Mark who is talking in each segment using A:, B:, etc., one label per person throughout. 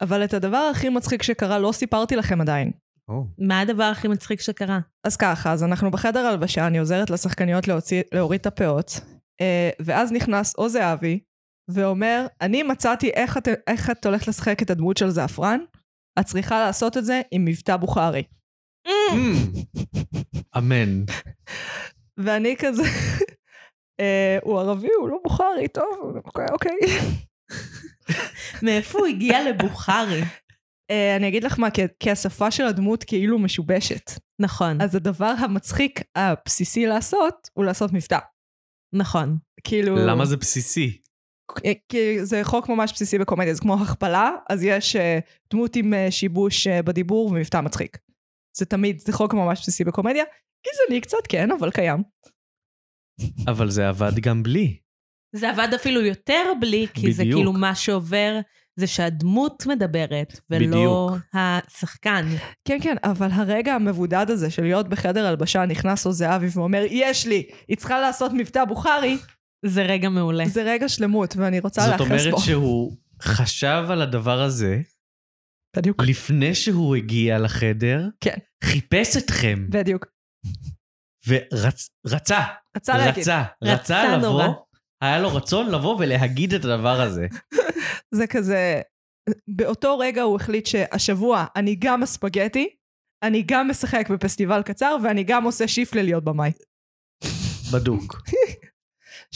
A: אבל את הדבר הכי מצחיק שקרה לא סיפרתי לכם עדיין.
B: או,
C: מה הדבר הכי מצחיק שקרה?
A: אז ככה, אז אנחנו בחדר הלבשה, אני עוזרת לשחקניות להוציא, להוריד את הפאות, אה, ואז נכנס או זהבי, ואומר, אני מצאתי איך את, איך את הולכת לשחק את הדמות של זעפרן, את צריכה לעשות את זה עם מבטא בוכרי.
C: Mm, Hmm.
B: אמן.
A: ואני כזה, אה, הוא ערבי, הוא לא בוכרי, טוב, אוקיי, אוקיי.
C: מאיפה הוא הגיע לבוכרי?
A: אה, אני אגיד לך מה, כי, כי השפה של הדמות כאילו משובשת.
C: נכון,
A: אז הדבר המצחיק הבסיסי לעשות, הוא לעשות מבטא.
C: נכון.
A: כאילו...
B: למה זה בסיסי?
A: אה, כי זה חוק ממש בסיסי בקומדיה, זה כמו הכפלה, אז יש אה, דמות עם אה, שיבוש אה, בדיבור ומבטא מצחיק. זה תמיד, זה חוק ממש בסיסי בקומדיה. גזעני קצת, כן, אבל קיים.
B: אבל זה עבד גם בלי.
C: זה עבד אפילו יותר בלי, כי זה
B: בדיוק.
C: כאילו מה שעובר, זה שהדמות מדברת, ולא
B: בדיוק.
C: השחקן.
A: כן, כן, אבל הרגע המבודד הזה של להיות בחדר הלבשה, נכנס לו זהבי ואומר, יש לי, היא צריכה לעשות מבטא בוכרי,
C: זה רגע מעולה.
A: זה רגע שלמות, ואני רוצה
B: אה. זאת
A: להיאחז בו.
B: אומרת שהוא חשב על הדבר הזה
A: בדיוק.
B: לפני שהוא הגיע לחדר.
A: כן.
B: חיפש אתכם,
A: בדיוק.
B: ורצה.
A: רצה להגיד.
B: רצה, רצה
C: רצה נורא.
B: לבוא, היה לו רצון לבוא ולהגיד את הדבר הזה.
A: זה כזה, באותו רגע הוא החליט שהשבוע אני גם הספגטי, אני גם משחק בפסטיבל קצר, ואני גם עושה שיפט ללהיות במאי.
B: בדוק.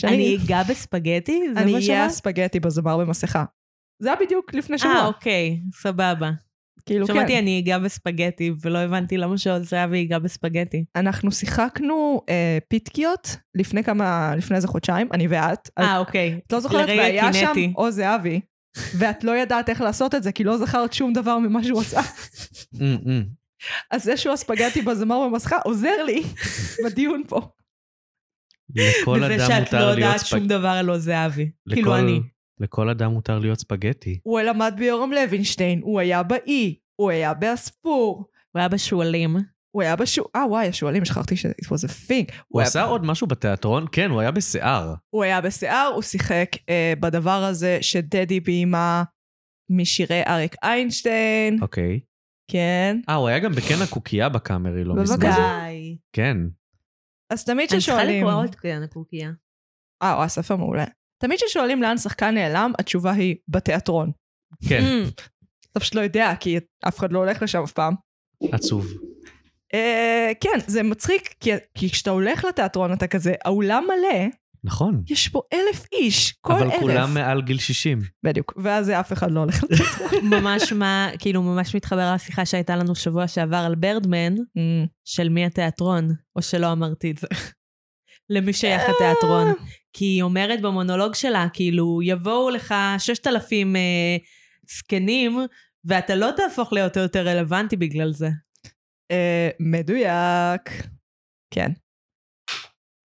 C: אני אגע בספגטי? זה
A: אני
C: מה
A: אהיה
C: שאמרת?
A: הספגטי בזמר במסכה. זה היה בדיוק לפני
C: אה,
A: שבוע.
C: אוקיי, סבבה.
A: כאילו, כן.
C: שמעתי אני אגע בספגטי, ולא הבנתי למה שזהבי ייגע בספגטי.
A: אנחנו שיחקנו אה, פיתקיות לפני כמה, לפני איזה חודשיים, אני ואת.
C: אה, אוקיי.
A: את לא זוכרת,
C: לרגע
A: והיה שם
C: קינאתי.
A: או זהבי, ואת לא ידעת איך לעשות את זה, כי לא זכרת שום דבר ממה שהוא עשה.
B: אמ, אמ.
A: אז זה שהוא הספגטי בזמר במסכה עוזר לי בדיון פה.
B: לכל
C: בזה
B: אדם
C: שאת לא
B: מותר להיות
C: יודעת שום
B: ספגטי.
C: דבר על לא זהבי.
B: לכל-
C: כאילו אני.
B: לכל אדם מותר להיות ספגטי.
A: הוא למד ביורם לוינשטיין, הוא היה באי, הוא היה באספור,
C: הוא היה בשועלים.
A: הוא היה בשו... אה, וואי, השועלים, שכחתי ש- it was a thing.
B: הוא
A: היה-
B: עשה עוד משהו בתיאטרון? כן, הוא היה בשיער.
A: הוא היה בשיער, הוא שיחק אה, בדבר הזה שדדי ביימה משירי אריק איינשטיין,
B: אוקיי.
A: כן.
B: אה, הוא היה גם בקן הקוקייה בקאמרי לא מזמן.
A: בבקשה.
C: די.
B: כן.
A: אז תמיד
C: אני צריכה
A: ששואלים...
C: לקרוא עוד כאן הקוקייה.
A: אה, וואי, ספר מעולה. תמיד ששואלים לאן שחקן נעלם, התשובה היא בתיאטרון.
B: כן,
C: Mm.
A: אתה פשוט לא יודע, כי אף אחד לא הולך לשם אף פעם.
B: עצוב.
A: אה, כן, זה מצחיק, כי, כי כשאתה הולך לתיאטרון אתה כזה, האולם מלא,
B: נכון.
A: יש בו אלף איש, כל ערב.
B: אבל כולם מעל גיל 60.
A: בדיוק, ואז אף אחד לא הולך לתת.
C: ממש מה, כאילו ממש מתחבר לשיחה שהייתה לנו שבוע שעבר על ברדמן, של מי התיאטרון, או שלא אמרתי את זה. למי שייך התיאטרון. כי היא אומרת במונולוג שלה, כאילו, יבואו לך 6,000 אה, זקנים, ואתה לא תהפוך להיות יותר רלוונטי בגלל זה.
A: אה, מדויק. כן.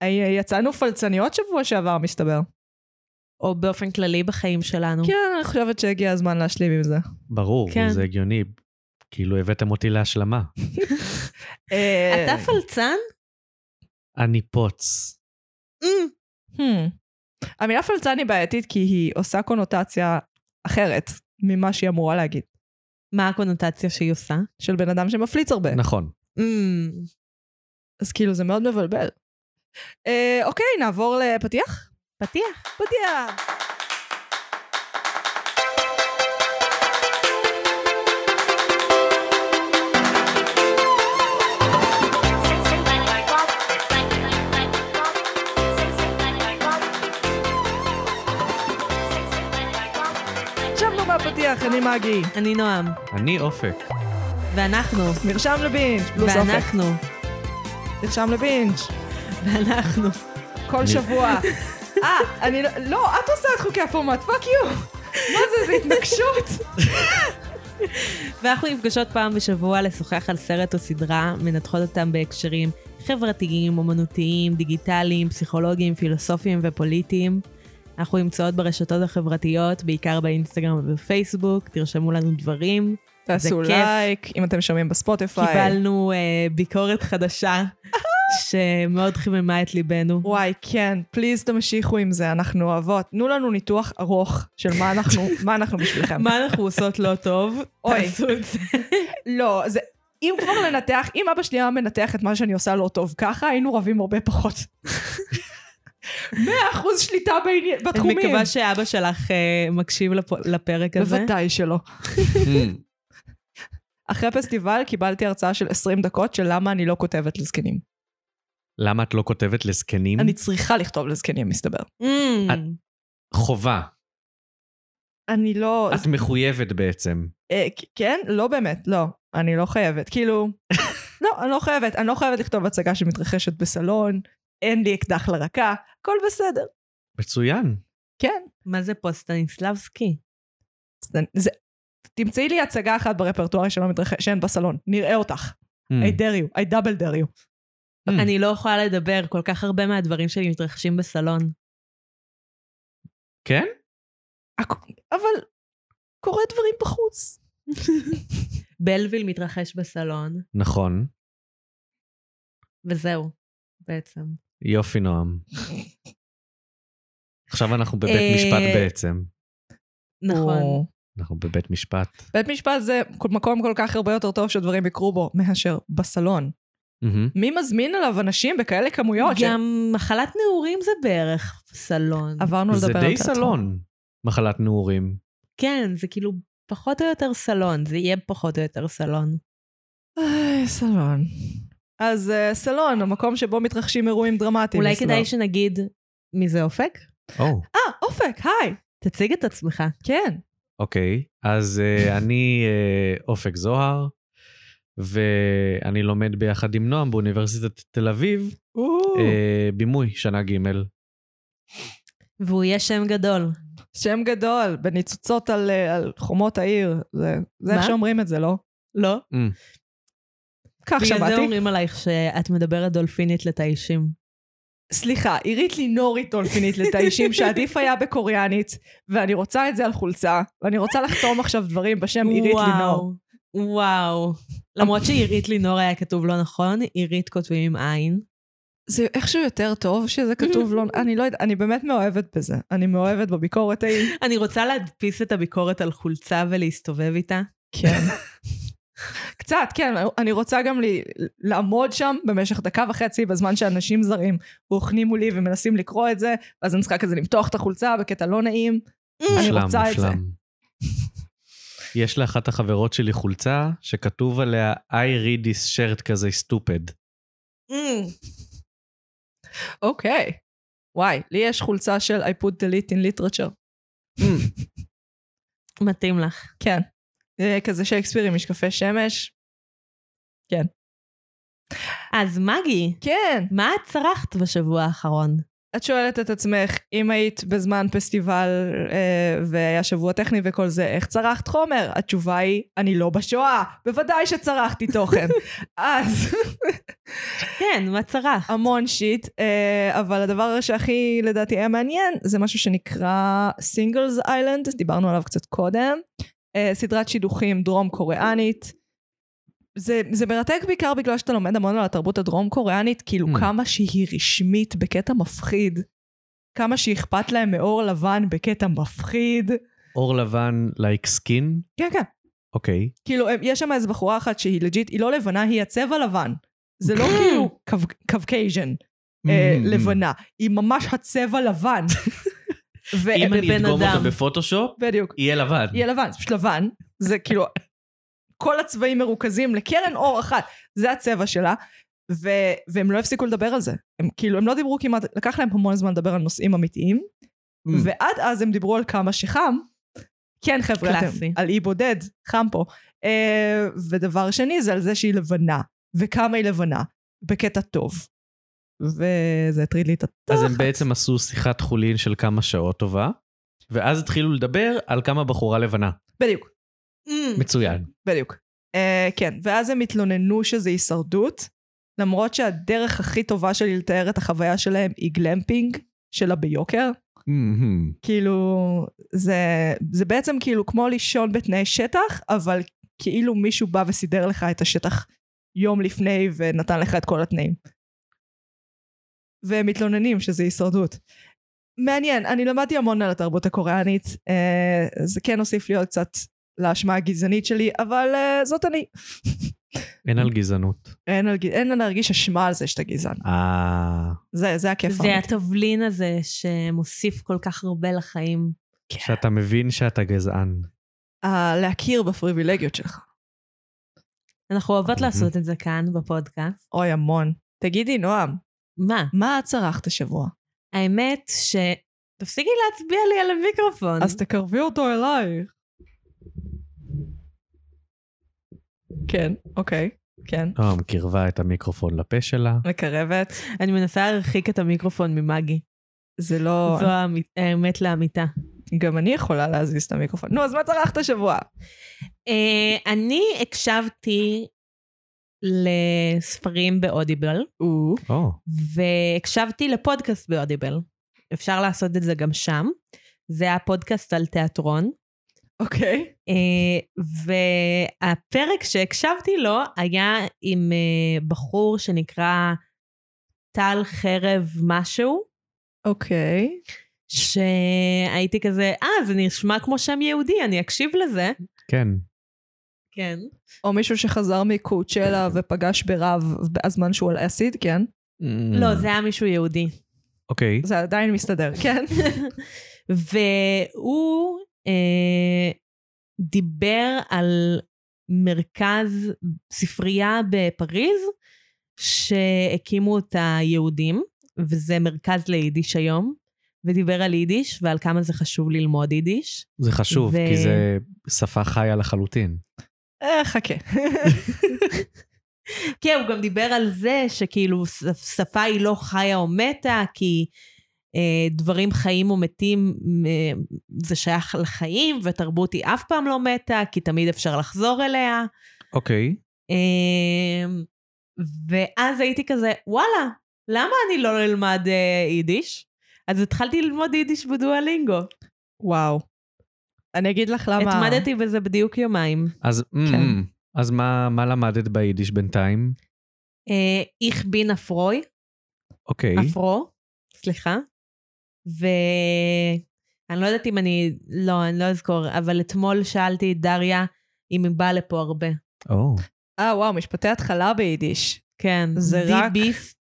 A: אה, יצאנו פלצניות שבוע שעבר, מסתבר.
C: או באופן כללי בחיים שלנו.
A: כן, אני חושבת שהגיע הזמן להשלים עם זה.
B: ברור,
C: כן.
B: זה הגיוני. כאילו הבאתם אותי להשלמה.
A: אה,
C: אתה פלצן?
B: אני פוץ.
C: Mm.
A: Hmm. המילה פלצן היא בעייתית כי היא עושה קונוטציה אחרת ממה שהיא אמורה להגיד,
C: מה הקונוטציה שהיא עושה? Mm.
A: של בן אדם שמפליץ הרבה.
B: נכון.
A: אז כאילו זה מאוד מבלבל. אה, אוקיי, נעבור לפתיח?
C: פתיח.
A: פתיח. שבנו מהפתיח, אני מגי.
C: אני נועם,
B: אני אופק.
C: ואנחנו,
A: נרשם לבינג', פלוס אופק.
C: ואנחנו,
A: נרשם לבינג'.
C: ואנחנו.
A: כל
B: אני-
A: שבוע. אה, אני לא... לא, את עושה את חוקי הפורמט, פאק יו. מה זה, זה התנגשות?
C: ואנחנו נפגשות פעם בשבוע לשוחח על סרט או סדרה, מנתחות אותם בהקשרים חברתיים, אומנותיים, דיגיטליים, פסיכולוגיים, פילוסופיים ופוליטיים. אנחנו נמצאות ברשתות החברתיות, בעיקר באינסטגרם ובפייסבוק, תרשמו לנו דברים.
A: תעשו
C: כיף.
A: לייק, אם אתם שומעים בספוטיפיי.
C: קיבלנו אה, ביקורת חדשה שמאוד חיממה את ליבנו.
A: וואי, כן, פליז תמשיכו עם זה, אנחנו אוהבות. תנו לנו ניתוח ארוך של מה אנחנו, מה אנחנו בשבילכם.
C: מה אנחנו עושות לא טוב?
A: אוי.
C: תעשו את זה.
A: לא, זה... אם כבר לנתח, אם אבא שלי היה מנתח את מה שאני עושה לא טוב ככה, היינו רבים הרבה פחות. מאה אחוז שליטה בעני-
C: אני
A: בתחומים.
C: מקווה שאבא שלך אה, מקשיב לפ- לפרק הזה.
A: בוודאי שלא. אחרי הפסטיבל קיבלתי הרצאה של 20 דקות של למה אני לא כותבת לזקנים.
C: Mm.
B: למה את לא כותבת לזקנים?
A: אני צריכה לכתוב לזקנים, מסתבר.
C: Mm.
B: את- חובה.
A: אני
C: אה,
A: לא...
B: את מחויבת בעצם.
A: אה, כ- כן? לא באמת, לא. אני לא חייבת. כאילו... לא, אני לא חייבת. אני לא חייבת לכתוב הצגה שמתרחשת בסלון, אין לי אקדח לרקה, הכל בסדר.
B: מצוין.
A: כן.
C: מה זה פה, סטניסלבסקי?
A: Mm. זה- זה... תמצאי לי הצגה אחת ברפרטואר שלא מתרחשת, שאין בסלון. נראה אותך.
B: Hmm.
A: I dare you, I double dare you. Mm.
B: Hmm.
C: אני לא יכולה לדבר, כל כך הרבה מהדברים שלי מתרחשים בסלון.
B: כן?
A: הכ- אבל קורה דברים בחוץ.
C: בלוויל מתרחש בסלון,
B: נכון.
C: וזהו, בעצם.
B: יופי, נועם. עכשיו אנחנו בבית
C: אה,
B: משפט בעצם.
C: נכון.
A: או.
B: אנחנו בבית משפט.
A: בית משפט זה מקום כל כך הרבה יותר טוב שדברים יקרו בו מאשר בסלון.
B: מהמם.
A: מי מזמין אליו אנשים בכאלה כמויות? ש-
C: גם מחלת נעורים זה בערך סלון.
A: עברנו לדבר
B: זה
A: לא על
B: די
A: תיאטרון.
B: סלון, מחלת נעורים.
C: כן, זה כאילו פחות או יותר סלון, זה יהיה פחות או יותר סלון.
A: איי, סלון. אז אה, סלון, המקום שבו מתרחשים אירועים דרמטיים.
C: אולי
A: מסתבר.
C: כדאי שנגיד מי זה אופק?
B: או,
A: אה, אופק, היי.
C: תציג את עצמך.
A: כן.
B: אוקיי. אז אה, אני אה, אופק זוהר, ואני לומד ביחד עם נועם באוניברסיטת תל אביב, אה, בימוי, שנה ג'.
C: והוא יהיה שם גדול.
A: שם גדול, בניצוצות על, אה, על חומות העיר. זה, זה איך
C: מה?
A: שאומרים את זה, לא?
C: לא?
A: כך
C: בגלל זה
A: שמעתי.
C: אומרים עלייך שאת מדברת דולפינית לתאישים.
A: סליחה, עירית לינורית דולפינית לתאישים, שעדיף היה בקוריאנית, ואני רוצה את זה על חולצה, ואני רוצה לחתום עכשיו דברים בשם עירית לינור.
C: וואו, וואו. למרות שעירית לינור היה כתוב לא נכון, עירית כותבים עם עין.
A: זה איכשהו יותר טוב שזה כתוב לא... אני לא יודעת, אני באמת מאוהבת בזה. אני מאוהבת בביקורת ההיא.
C: אני רוצה להדפיס את הביקורת על חולצה ולהסתובב איתה.
A: כן. קצת, כן, אני רוצה גם לי, לעמוד שם במשך דקה וחצי בזמן שאנשים זרים רוכנים מולי ומנסים לקרוא את זה, ואז אני צריכה כזה למתוח את החולצה בקטע לא נעים.
B: מושלם,
A: רוצה את זה.
B: מושלם. יש לאחת החברות שלי חולצה שכתוב עליה I read this shirt כזה stupid.
C: Mm,
A: אוקיי. וואי, לי יש חולצה של I put delete in literature.
C: מתאים לך.
A: כן. אה, כזה שייקספיר עם משקפי שמש.
C: אז מגי,
A: כן.
C: מה את צרחת בשבוע האחרון?
A: את שואלת את עצמך, אם היית בזמן פסטיבל אה, והיה שבוע טכני וכל זה, איך צרחת חומר? התשובה היא, אני לא בשואה. בוודאי שצרחתי תוכן. אז
C: כן, מה צרחת?
A: המון שיט, אה, אבל הדבר שהכי לדעתי היה מעניין, זה משהו שנקרא סינגלס איילנד, דיברנו עליו קצת קודם. אה, סדרת שידוכים דרום קוריאנית. זה, זה מרתק בעיקר בגלל שאתה לומד המון על התרבות הדרום קוריאנית, כאילו
B: Hmm.
A: mm. כמה שהיא רשמית בקטע מפחיד, כמה שאכפת להם מאור לבן בקטע מפחיד.
B: אור לבן לייק סקין?
A: כן, כן.
B: אוקיי.
A: כאילו, הם- יש שם איזו בחורה אחת שהיא לג'יט, היא לא לבנה, היא הצבע לבן. זה לא כאילו קווקייז'ן. אה,
B: Mm, mm.
A: לבנה. היא ממש הצבע לבן. ו-
B: אם אני
C: בבן
B: אדגום
C: אדם.
B: אותה בפוטושופ,
A: בדיוק.
B: יהיה לבן.
A: יהיה לבן, זה פשוט לבן. זה כאילו, כל הצבעים מרוכזים לקרן אור אחת. זה הצבע שלה. ו- והם לא הפסיקו לדבר על זה. הם כאילו, הם לא דיברו כמעט, לקח להם המון זמן לדבר על נושאים אמיתיים.
B: Mm.
A: ועד אז הם דיברו על כמה שחם. כן, חבר'ה, אתם,
C: קלאסי.
A: על אי בודד, חם פה. אה, ודבר שני, זה על זה שהיא לבנה, וכמה היא לבנה, בקטע טוב. וזה הטריד לי את התחת.
B: אז הם בעצם עשו שיחת חולין של כמה שעות טובה, ואז התחילו לדבר על כמה בחורה לבנה.
A: בדיוק, Mm.
B: מצוין.
A: בדיוק. Uh, כן, ואז הם התלוננו שזה הישרדות, למרות שהדרך הכי טובה שלי לתאר את החוויה שלהם היא גלמפינג, שלה ביוקר.
B: מהמם.
A: כאילו, זה, זה בעצם כאילו כמו לישון בתנאי שטח, אבל כאילו מישהו בא וסידר לך את השטח יום לפני ונתן לך את כל התנאים. והם מתלוננים שזה הישרדות. מעניין, אני למדתי המון על התרבות הקוריאנית, אה, זה כן הוסיף לי עוד קצת לאשמה הגזענית שלי, אבל אה, זאת אני.
B: אין על גזענות.
A: אין, על, גז- אין להרגיש אשמה על זה שאתה גזען.
B: אה...
A: זה, זה הכיף.
C: זה
A: האמיתי.
C: התבלין הזה שמוסיף כל כך הרבה לחיים.
B: שאתה מבין שאתה גזען.
A: כן. ה- להכיר בפריבילגיות שלך.
C: אנחנו
A: Mm-hmm.
C: אוהבות לעשות את זה כאן, בפודקאסט.
A: אוי, המון. תגידי, נועם,
C: מה?
A: מה את צרחת השבוע?
C: האמת ש... תפסיקי להצביע לי על המיקרופון.
A: אז תקרבי אותו אלייך. כן, אוקיי, כן.
B: נועם לא, קירבה את המיקרופון לפה שלה.
A: מקרבת.
C: אני מנסה להרחיק את המיקרופון ממאגי.
A: זה לא...
C: זו האמית- האמת לאמיתה.
A: גם אני יכולה להזיז את המיקרופון. נו, אז מה צרחת השבוע?
C: אה, אני הקשבתי לספרים באודיבל,
A: או.
B: או,
C: והקשבתי לפודקאסט באודיבל. אפשר לעשות את זה גם שם. זה היה פודקאסט על תיאטרון.
A: אוקיי.
C: אה, והפרק שהקשבתי לו היה עם אה, בחור שנקרא טל חרב משהו,
A: אוקיי.
C: שהייתי כזה, אה, זה נשמע כמו שם יהודי, אני אקשיב לזה.
B: כן.
C: כן.
A: או מישהו שחזר מקוצ'לה ופגש ברב בזמן שהוא על אסיד, כן?
C: לא,
B: Mm.
C: זה היה מישהו יהודי.
B: אוקיי.
A: זה עדיין מסתדר, כן?
C: והוא אה, דיבר על מרכז ספרייה בפריז שהקימו אותה יהודים, וזה מרכז ליידיש היום, ודיבר על יידיש ועל כמה זה חשוב ללמוד יידיש.
B: זה חשוב,
C: ו-
B: כי זה שפה חיה לחלוטין.
A: אה, חכה.
C: כן, הוא גם דיבר על זה שכאילו ש- שפה היא לא חיה או מתה, כי אה, דברים חיים ומתים אה, זה שייך לחיים, ותרבות היא אף פעם לא מתה, כי תמיד אפשר לחזור אליה.
B: אוקיי.
C: אמ, ואז הייתי כזה, וואלה, למה אני לא אלמד אה, יידיש? אז התחלתי ללמוד יידיש בדואלינגו.
A: וואו. אני אגיד לך למה...
C: התמדתי בזה בדיוק יומיים.
B: אז אמ, אז מה מה למדת ביידיש בינתיים?
C: אה, איך בין אפרוי,
B: אוקיי.
C: אפרו, סליחה. ואני לא יודעת אם אני, לא, אני לא אזכור, אבל אתמול שאלתי את דריה אם היא באה לפה הרבה.
B: או,
A: אה, וואו, משפטי התחלה ביידיש.
C: כן.
A: זה
C: די
A: רק-
C: ביסט.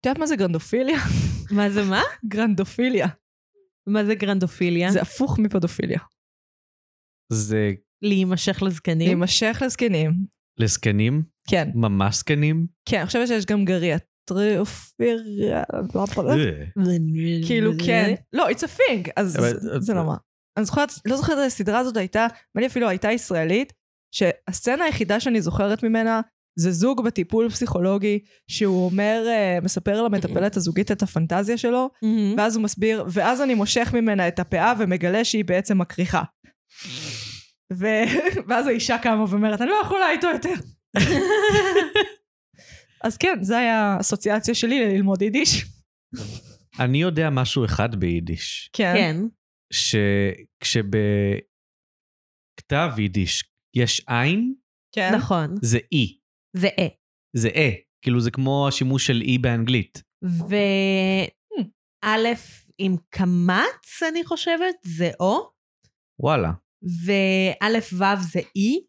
A: את יודעת מה זה גרנדופיליה?
C: מה זה מה?
A: גרנדופיליה.
C: מה זה גרנדופיליה?
A: זה הפוך מפדופיליה.
B: זה
C: להימשך לזקנים.
A: להימשך לזקנים.
B: לזקנים?
A: כן.
B: ממש זקנים?
A: כן, אני חושבת שיש גם לא גריאטריופיה.
B: אה.
A: כאילו כן. לא, it's a thing, אז
B: אבל-
A: זה לא מה. אני זוכרת, לא זוכרת איזה סדרה הזאת הייתה, נדמה לי אפילו הייתה ישראלית, שהסצנה היחידה שאני זוכרת ממנה זה זוג בטיפול פסיכולוגי, שהוא אומר, אה, מספר למטפלת הזוגית את הפנטזיה שלו,
C: מהמם.
A: ואז הוא מסביר, ואז אני מושך ממנה את הפאה ומגלה שהיא בעצם מקריחה. ו- ואז האישה קמה ואומרת, אני לא יכולה איתו יותר. אז כן, זה היה האסוציאציה שלי ללמוד יידיש.
B: אני יודע משהו אחד ביידיש.
C: כן.
B: שכשבכתב יידיש יש עין,
A: כן.
C: נכון.
B: זה אי.
C: זה אה.
B: זה אה. כאילו זה כמו השימוש של אי באנגלית.
A: Hmm.
C: וא' עם קמץ, אני חושבת, זה או,
B: וואלה.
C: וא' ו' זה אי.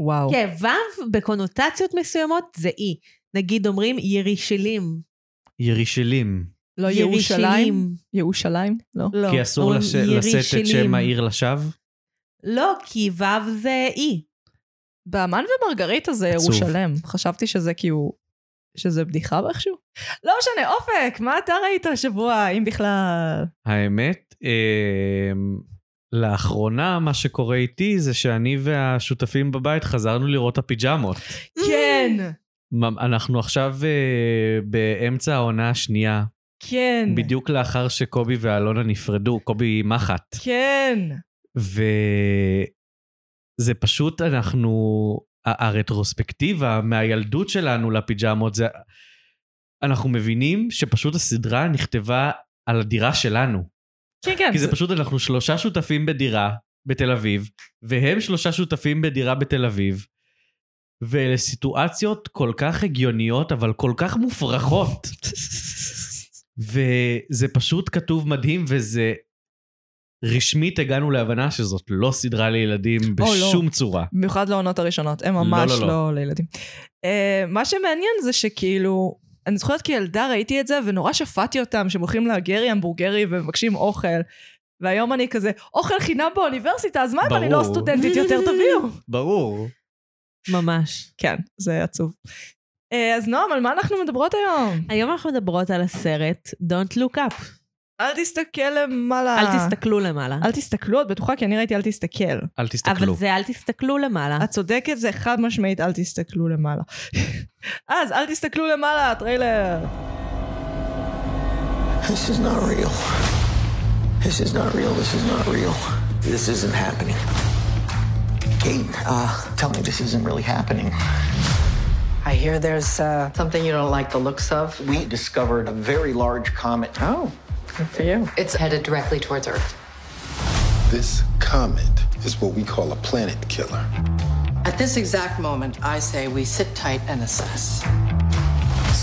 A: וואו.
C: כן, ו' בקונוטציות מסוימות זה אי. נגיד אומרים ירישלים.
B: ירישלים.
A: לא ירושלים? ירושלים? לא.
C: לא.
B: כי אסור
C: אומרים
B: לש... לשאת את
C: ירישלים.
B: שם העיר לשווא?
C: לא, כי ו' זה אי.
A: באמן ומרגריטה זה
B: עצוב.
A: ירושלם. חשבתי שזה כאילו... שזה בדיחה באיכשהו? לא משנה, אופק, מה אתה ראית השבוע, אם בכלל?
B: האמת, אמ, לאחרונה מה שקורה איתי זה שאני והשותפים בבית חזרנו לראות את הפיג'מות.
A: כן,
B: ממ- אנחנו עכשיו אה, באמצע העונה השנייה,
A: כן,
B: בדיוק לאחר שקובי ואלונה נפרדו, קובי מחט.
A: כן.
B: וזה פשוט, אנחנו, ה- הרטרוספקטיבה מהילדות שלנו לפיג'מות, זה... אנחנו מבינים שפשוט הסדרה נכתבה על הדירה שלנו.
A: כן, כן.
B: כי זה פשוט, אנחנו שלושה שותפים בדירה בתל אביב, והם שלושה שותפים בדירה בתל אביב, ואלה סיטואציות כל כך הגיוניות, אבל כל כך מופרכות. וזה פשוט כתוב מדהים, וזה... רשמית הגענו להבנה שזאת לא סדרה לילדים
A: לא.
B: בשום צורה.
A: במיוחד לעונות הראשונות, הם ממש
B: לא,
A: לא,
B: לא.
A: לא. לילדים. אה, מה שמעניין זה שכאילו, אני זוכרת כילדה ראיתי את זה ונורא שפטתי אותם, שהם הולכים לגרי המבורגרי ומבקשים אוכל. והיום אני כזה, אוכל חינם באוניברסיטה, אז מה אם אני לא
B: ברור.
A: סטודנטית יותר תביאו?
B: ברור.
C: Mm, ממש.
A: כן, זה עצוב. אה, אז נועם, על מה אנחנו מדברות היום?
C: היום אנחנו מדברות על הסרט Don't Look Up.
A: אל תסתכל למעלה.
C: אל תסתכלו למעלה.
A: אה. אל תסתכלו, את בטוחה? כי אני ראיתי אל תסתכל.
B: אל
C: אבל
B: תסתכלו.
C: זה אל תסתכלו למעלה.
A: את צודקת, זה חד משמעית אל תסתכלו למעלה. אז אל תסתכלו למעלה, הטריילר.
D: This is not real. This is not real. This is not real. This isn't happening. Kate, uh, tell me this isn't really happening.
E: I hear there's uh, something you don't like the looks of.
D: We discovered a very large comet.
E: Oh, good for you.
F: It's headed directly towards Earth.
G: This comet is what we call a planet killer.
E: At this exact moment, I say we sit tight and assess.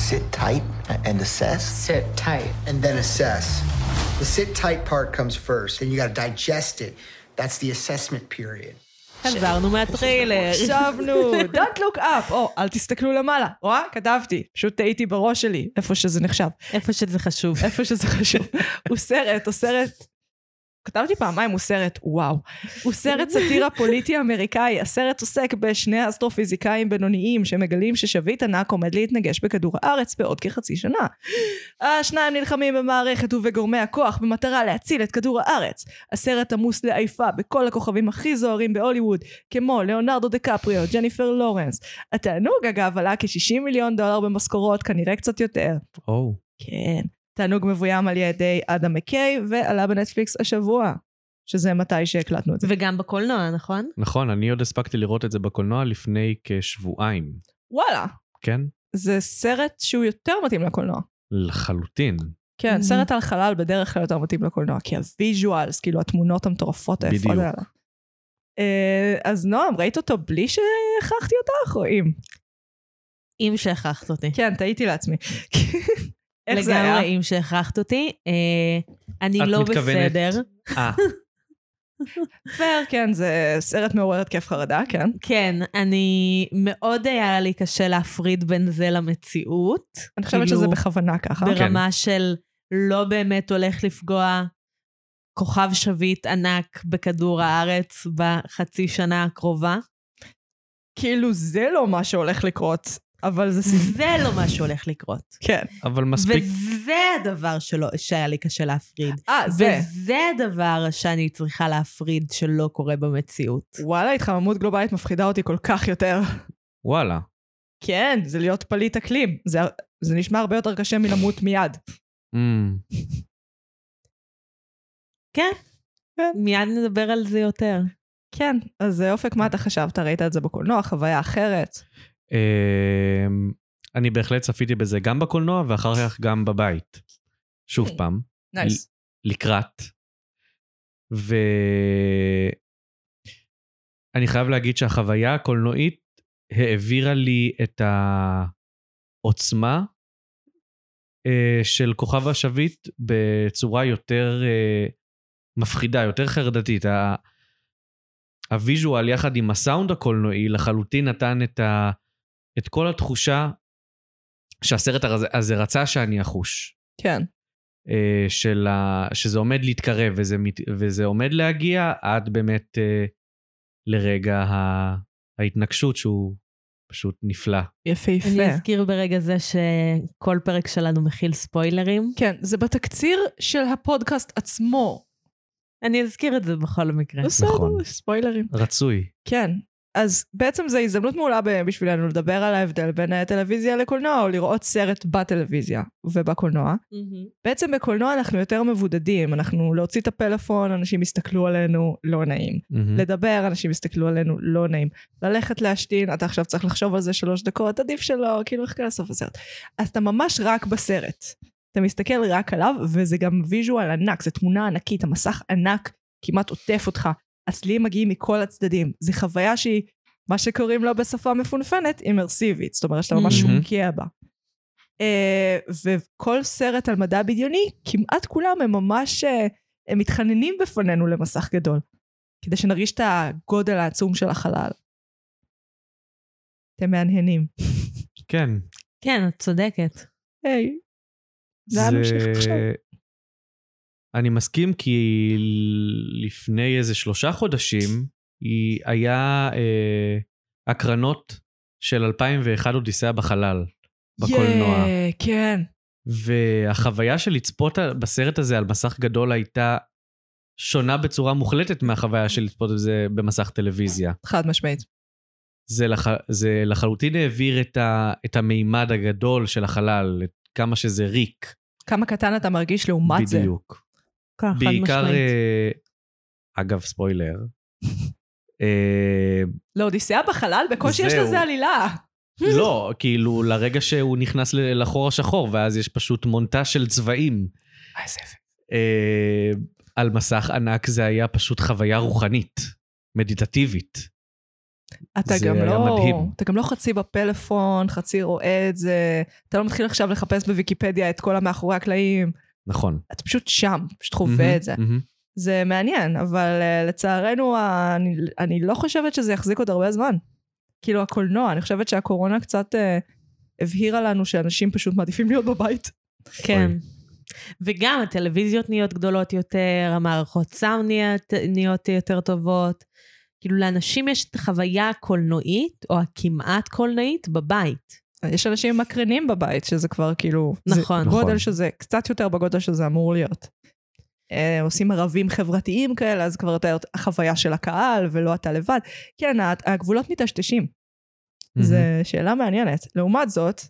D: Sit tight and assess.
F: Sit tight.
H: and then assess. The sit tight part comes first, then you got to digest it. That's the assessment period.
C: חזרנו מהטריילר.
A: שבנו, don't look up, או אל תסתכלו למעלה. רואה? כתבתי, פשוט טעיתי בראש שלי, איפה שזה נחשב,
C: איפה שזה חשוב.
A: איפה שזה חשוב. הוא סרט, הוא סרט, כתבתי פעמיים, הוא סרט, וואו. הוא סרט סאטירה פוליטי אמריקאי, הסרט עוסק בשני אסטרופיזיקאים בינוניים שמגלים ששביט ענק עומד להתנגש בכדור הארץ בעוד כחצי שנה. השניים נלחמים במערכת ובגורמי הכוח במטרה להציל את כדור הארץ. הסרט עמוס לעייפה בכל הכוכבים הכי זוהרים בהוליווד, כמו ליאונרדו דקפריו, ג'ניפר לורנס. התענוג אגב עלה כ-60 מיליון דולר במשכורות, כנראה קצת יותר.
B: או,
A: כן. תענוג מבוים על ידי אדם מקיי, ועלה בנטפליקס השבוע, שזה מתי שהקלטנו את זה.
C: וגם בקולנוע, נכון?
B: נכון, אני עוד הספקתי לראות את זה בקולנוע לפני כשבועיים,
A: וואלה,
B: כן?
A: זה סרט שהוא יותר מתאים לקולנוע.
B: לחלוטין.
A: כן,
C: Mhm.
A: סרט על חלל בדרך כלל יותר מתאים לקולנוע, כי הוויז'ואלס, כאילו התמונות המטורפות היפות
B: בדיוק.
A: האלה. אה, אז נועם, ראית אותו בלי שהכרחתי אותך, או אם?
C: אם שהכרחת אותי.
A: כן, טעיתי לעצמי. איך זה היה?
C: לגמרי אם שהכרחת אותי. אה, אני
B: את
C: לא
B: מתכוונת-
C: בסדר.
B: אה,
A: פייר, כן, זה סרט מעורר התקף חרדה, כן.
C: כן, אני מאוד היה לי קשה להפריד בין זה למציאות.
A: אני חושבת
C: כאילו,
A: שזה בכוונה ככה.
C: ברמה של לא באמת הולך לפגוע כוכב שביט ענק בכדור הארץ בחצי שנה הקרובה.
A: כאילו זה לא מה שהולך לקרות, אבל זה... ס-
C: זה לא מה שהולך לקרות.
A: כן.
B: אבל מספיק.
C: וזה הדבר שלא, שהיה לי קשה להפריד.
A: אה, זה.
C: וזה הדבר שאני צריכה להפריד שלא קורה במציאות.
A: וואלה, התחממות גלובלית מפחידה אותי כל כך יותר.
B: וואלה.
A: כן, זה להיות פליט אקלים. זה, זה נשמע הרבה יותר קשה מלמות מיד.
B: אמ,
C: כן.
A: כן.
C: מיד נדבר על זה יותר.
A: כן, אז אה, אופק, מה אתה חשבת? ראית את זה בקולנוע, חוויה אחרת?
B: אמ, אני בהחלט צפיתי בזה גם בקולנוע ואחר כך גם בבית. שוב
C: אוקיי.
A: Hmm.
B: פעם,
A: נייס.
B: לקראת. ואני חייב להגיד שהחוויה הקולנועית העבירה לי את העוצמה אה, של כוכב השביט בצורה יותר אה, מפחידה, יותר חרדתית. ה- הוויז'ואל יחד עם הסאונד הקולנועי לחלוטין נתן את, ה, את כל התחושה שהסרט הזה- הזה רצה שאני אחוש.
A: כן.
B: אה, של ה... שזה עומד להתקרב וזה, מת... וזה עומד להגיע עד באמת אה, לרגע ה... ההתנגשות שהוא פשוט נפלא.
A: יפהפה.
C: אני אזכיר ברגע זה שכל פרק שלנו מכיל ספוילרים.
A: כן, זה בתקציר של הפודקאסט עצמו.
C: אני אזכיר את זה בכל מקרה.
B: נכון.
A: בסדר, ספוילרים.
B: רצוי.
A: כן. אז בעצם זו הזדמנות מעולה ב- בשבילנו לדבר על ההבדל בין הטלוויזיה לקולנוע, או לראות סרט בטלוויזיה ובקולנוע. בעצם בקולנוע אנחנו יותר מבודדים, אנחנו להוציא את הפלאפון, אנשים יסתכלו עלינו, לא נעים.
B: מהמם.
A: לדבר, אנשים יסתכלו עלינו, לא נעים. ללכת להשתין, אתה עכשיו צריך לחשוב על זה שלוש דקות, עדיף שלא, כאילו, חכה לסוף הסרט. אז אתה ממש רק בסרט. אתה מסתכל רק עליו, וזה גם ויז'ואל ענק, זו תמונה ענקית, המסך ענק כמעט עוטף אותך. הצלילים מגיעים מכל הצדדים. זו חוויה שהיא מה שקוראים לו בשפה מפונפנת אימרסיבית, זאת אומרת שאתה ממש
B: Mhm.
A: שומקיע בה. אה, וכל סרט על מדע בדיוני, כמעט כולם הם ממש, אה, הם מתחננים בפנינו למסך גדול, כדי שנרגיש את הגודל העצום של החלל. אתם מהנהנים.
B: כן.
C: כן, את צודקת.
A: היי. לאן נמשיך עכשיו?
B: אני מסכים כי לפני איזה שלושה חודשים היא היה אה, הקרנות של 2001 אודיסאה בחלל, בקולנוע.
A: יא, כן.
B: והחוויה של לצפות בסרט הזה על מסך גדול הייתה שונה בצורה מוחלטת מהחוויה של לצפות בזה במסך טלוויזיה.
A: חד משמעית.
B: זה, לח... זה לחלוטין העביר את, ה... את המימד הגדול של החלל, את כמה שזה ריק.
A: כמה קטן אתה מרגיש לעומת זה.
B: בדיוק.
C: ככה, חד
B: בעיקר,
C: משמעית.
B: אה, אגב, ספוילר. אה,
A: לאודיסאה בחלל בקושי יש
B: זהו.
A: לזה עלילה.
B: לא, כאילו, לרגע שהוא נכנס ל- לחור השחור, ואז יש פשוט מונטה של צבעים. אה, על מסך ענק זה היה פשוט חוויה רוחנית, מדיטטיבית.
A: אתה
B: זה
A: גם
B: היה
A: לא,
B: מדהים.
A: אתה גם לא חצי בפלאפון, חצי רואה את זה, אתה לא מתחיל עכשיו לחפש בוויקיפדיה את כל המאחורי הקלעים,
B: נכון.
A: אתה פשוט שם, פשוט חווה את זה.
B: מהמם, מהמם.
A: זה מעניין, אבל אה, לצערנו, ה- אני, אני לא חושבת שזה יחזיק עוד הרבה זמן. כאילו, הקולנוע, אני חושבת שהקורונה קצת אה, הבהירה לנו שאנשים פשוט מעדיפים להיות בבית.
C: כן. וגם הטלוויזיות נהיות גדולות יותר, המערכות סאונד נהיות- נהיות יותר טובות. כאילו לאנשים יש את החוויה הקולנועית, או הכמעט קולנועית, בבית.
A: יש אנשים עם מקרנים בבית, שזה כבר כאילו...
C: נכון.
A: זה גודל
B: נכון.
A: שזה, קצת יותר בגודל שזה אמור להיות. אה, עושים ערבים חברתיים כאלה, אז כבר אתה החוויה של הקהל, ולא אתה לבד. כן, ה- הגבולות מטשטשים. זו שאלה מעניינת. לעומת זאת,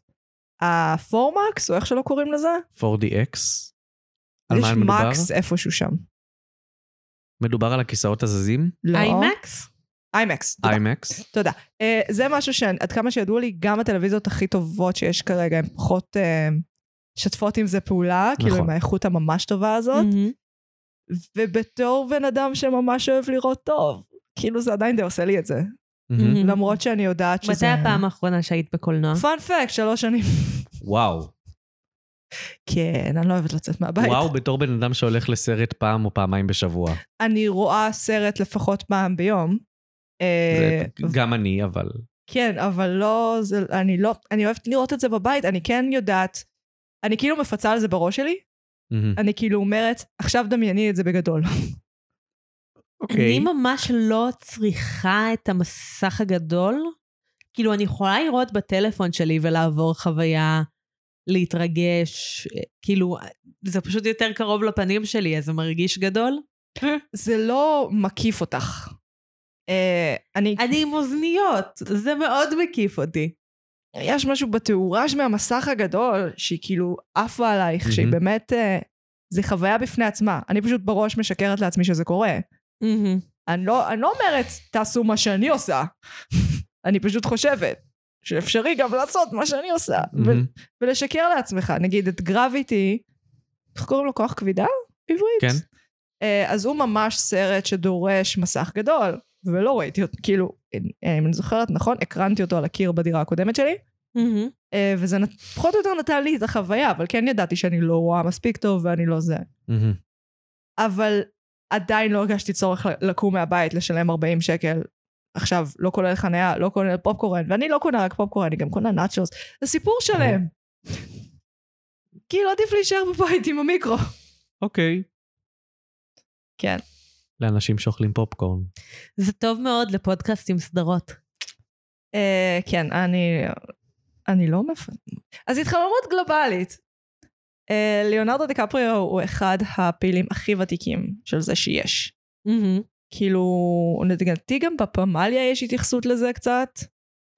A: הפורמקס, או איך שלא קוראים לזה,
B: 4DX. על
A: יש
B: מה מדובר?
A: מקס איפשהו שם.
B: מדובר על הכיסאות הזזים?
A: לא.
C: איימקס?
A: איימקס. תודה.
B: איימקס?
A: תודה. אה, זה משהו שעד כמה שידוע לי, גם הטלוויזיות הכי טובות שיש כרגע, הן פחות אה, משתפות עם זה פעולה, כאילו
B: נכון.
A: עם האיכות הממש טובה הזאת.
C: מהמם.
A: ובתור בן אדם שממש אוהב לראות טוב, כאילו זה עדיין די עושה לי את זה.
B: מהמם.
C: מהמם.
A: למרות שאני יודעת שזה...
C: מתי הפעם האחרונה שהיית בקולנוע?
A: פאנפקט, שלוש שנים.
B: וואו.
A: כן, אני לא אוהבת לצאת מהבית.
B: וואו, בתור בן אדם שהולך לסרט פעם או פעמיים בשבוע.
A: אני רואה סרט לפחות פעם ביום. אה,
B: זה גם אני, אבל...
A: כן, אבל לא, זה, אני לא, אני אוהבת לראות את זה בבית, אני כן יודעת, אני כאילו מפצה על זה בראש שלי,
B: מהמם.
A: אני כאילו אומרת, עכשיו דמייני את זה בגדול.
B: אוקיי.
C: אני ממש לא צריכה את המסך הגדול. כאילו, אני יכולה לראות בטלפון שלי ולעבור חוויה, להתרגש, אה, כאילו, זה פשוט יותר קרוב לפנים שלי, אז זה מרגיש גדול.
A: זה לא מקיף אותך. אה, אני,
C: אני עם אוזניות, זה מאוד מקיף אותי.
A: יש משהו בתאורה מהמסך הגדול, שהיא כאילו עפה עלייך, שהיא
B: מהמם.
A: באמת, אה, זה חוויה בפני עצמה. אני פשוט בראש משקרת לעצמי שזה קורה. אני לא, אני לא אומרת, תעשו מה שאני עושה. אני פשוט חושבת שאפשרי גם לעשות מה שאני עושה. ו-
B: מהמם.
A: ולשקר לעצמך. נגיד את גרביטי, איך קוראים לו? כוח כבידה? בעברית?
B: כן.
A: אה, אז הוא ממש סרט שדורש מסך גדול, ולא ראיתי אותו, כאילו, אה, אם אני זוכרת נכון, הקרנתי אותו על הקיר בדירה הקודמת שלי, אה, וזה נת- פחות או יותר נתן לי את החוויה, אבל כן ידעתי שאני לא רואה מספיק טוב ואני לא זה.
B: מהמם.
A: אבל עדיין לא הרגשתי צורך ל- לקום מהבית, לשלם 40 שקל. עכשיו, לא כולל חניה, לא כולל פופקורן, ואני לא קונה רק פופקורן, אני גם קונה נאצ'וס. זה סיפור שלם. כאילו, עדיף להישאר בבית עם המיקרו.
B: אוקיי.
A: כן. Mm.
B: לאנשים שאוכלים פופקורן.
C: זה טוב מאוד לפודקאסט עם סדרות.
A: אה, כן, אני... אני לא מפ... אז התחממות גלובלית. אה, ליאונרדו דיקפריו הוא אחד הפעילים הכי ותיקים של זה שיש. כאילו, לדעתי גם בפמליה יש התייחסות לזה קצת,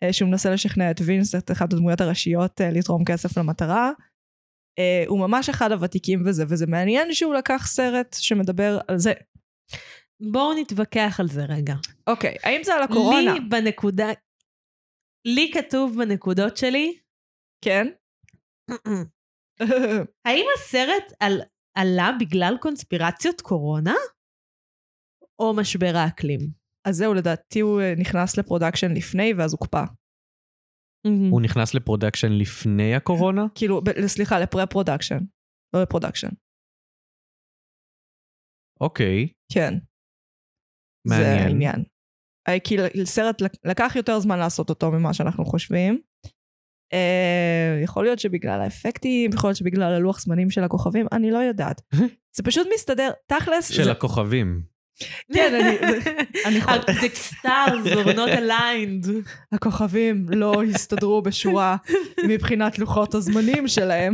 A: אה, שהוא מנסה לשכנע את וינס, את אחת הדמויות הראשיות, אה, לתרום כסף למטרה. אה, הוא ממש אחד הוותיקים בזה, וזה מעניין שהוא לקח סרט שמדבר על זה.
C: בואו נתווכח על זה רגע.
A: אוקיי, האם זה על הקורונה?
C: לי בנקודה... לי כתוב בנקודות שלי,
A: כן.
C: האם הסרט על... עלה בגלל קונספירציות קורונה? או משבר האקלים?
A: אז זהו, לדעתי הוא אה, נכנס לפרודקשן לפני ואז הוקפא.
C: מהמם.
B: הוא נכנס לפרודקשן לפני הקורונה?
A: כאילו, ב- סליחה, לפרה-פרודקשן. לא לפרודקשן.
B: אוקיי,
A: כן.
B: מעניין.
A: זה העניין. אה, כי ל- סרט לק- לקח יותר זמן לעשות אותו ממה שאנחנו חושבים. אה, יכול להיות שבגלל האפקטים, יכול להיות שבגלל הלוח זמנים של הכוכבים, אני לא יודעת. זה פשוט מסתדר, תכלס,
B: של
A: זה-
B: הכוכבים.
A: כן, אני- אני יכול-
C: The stars are not aligned.
A: הכוכבים לא הסתדרו בשורה מבחינת לוחות הזמנים שלהם,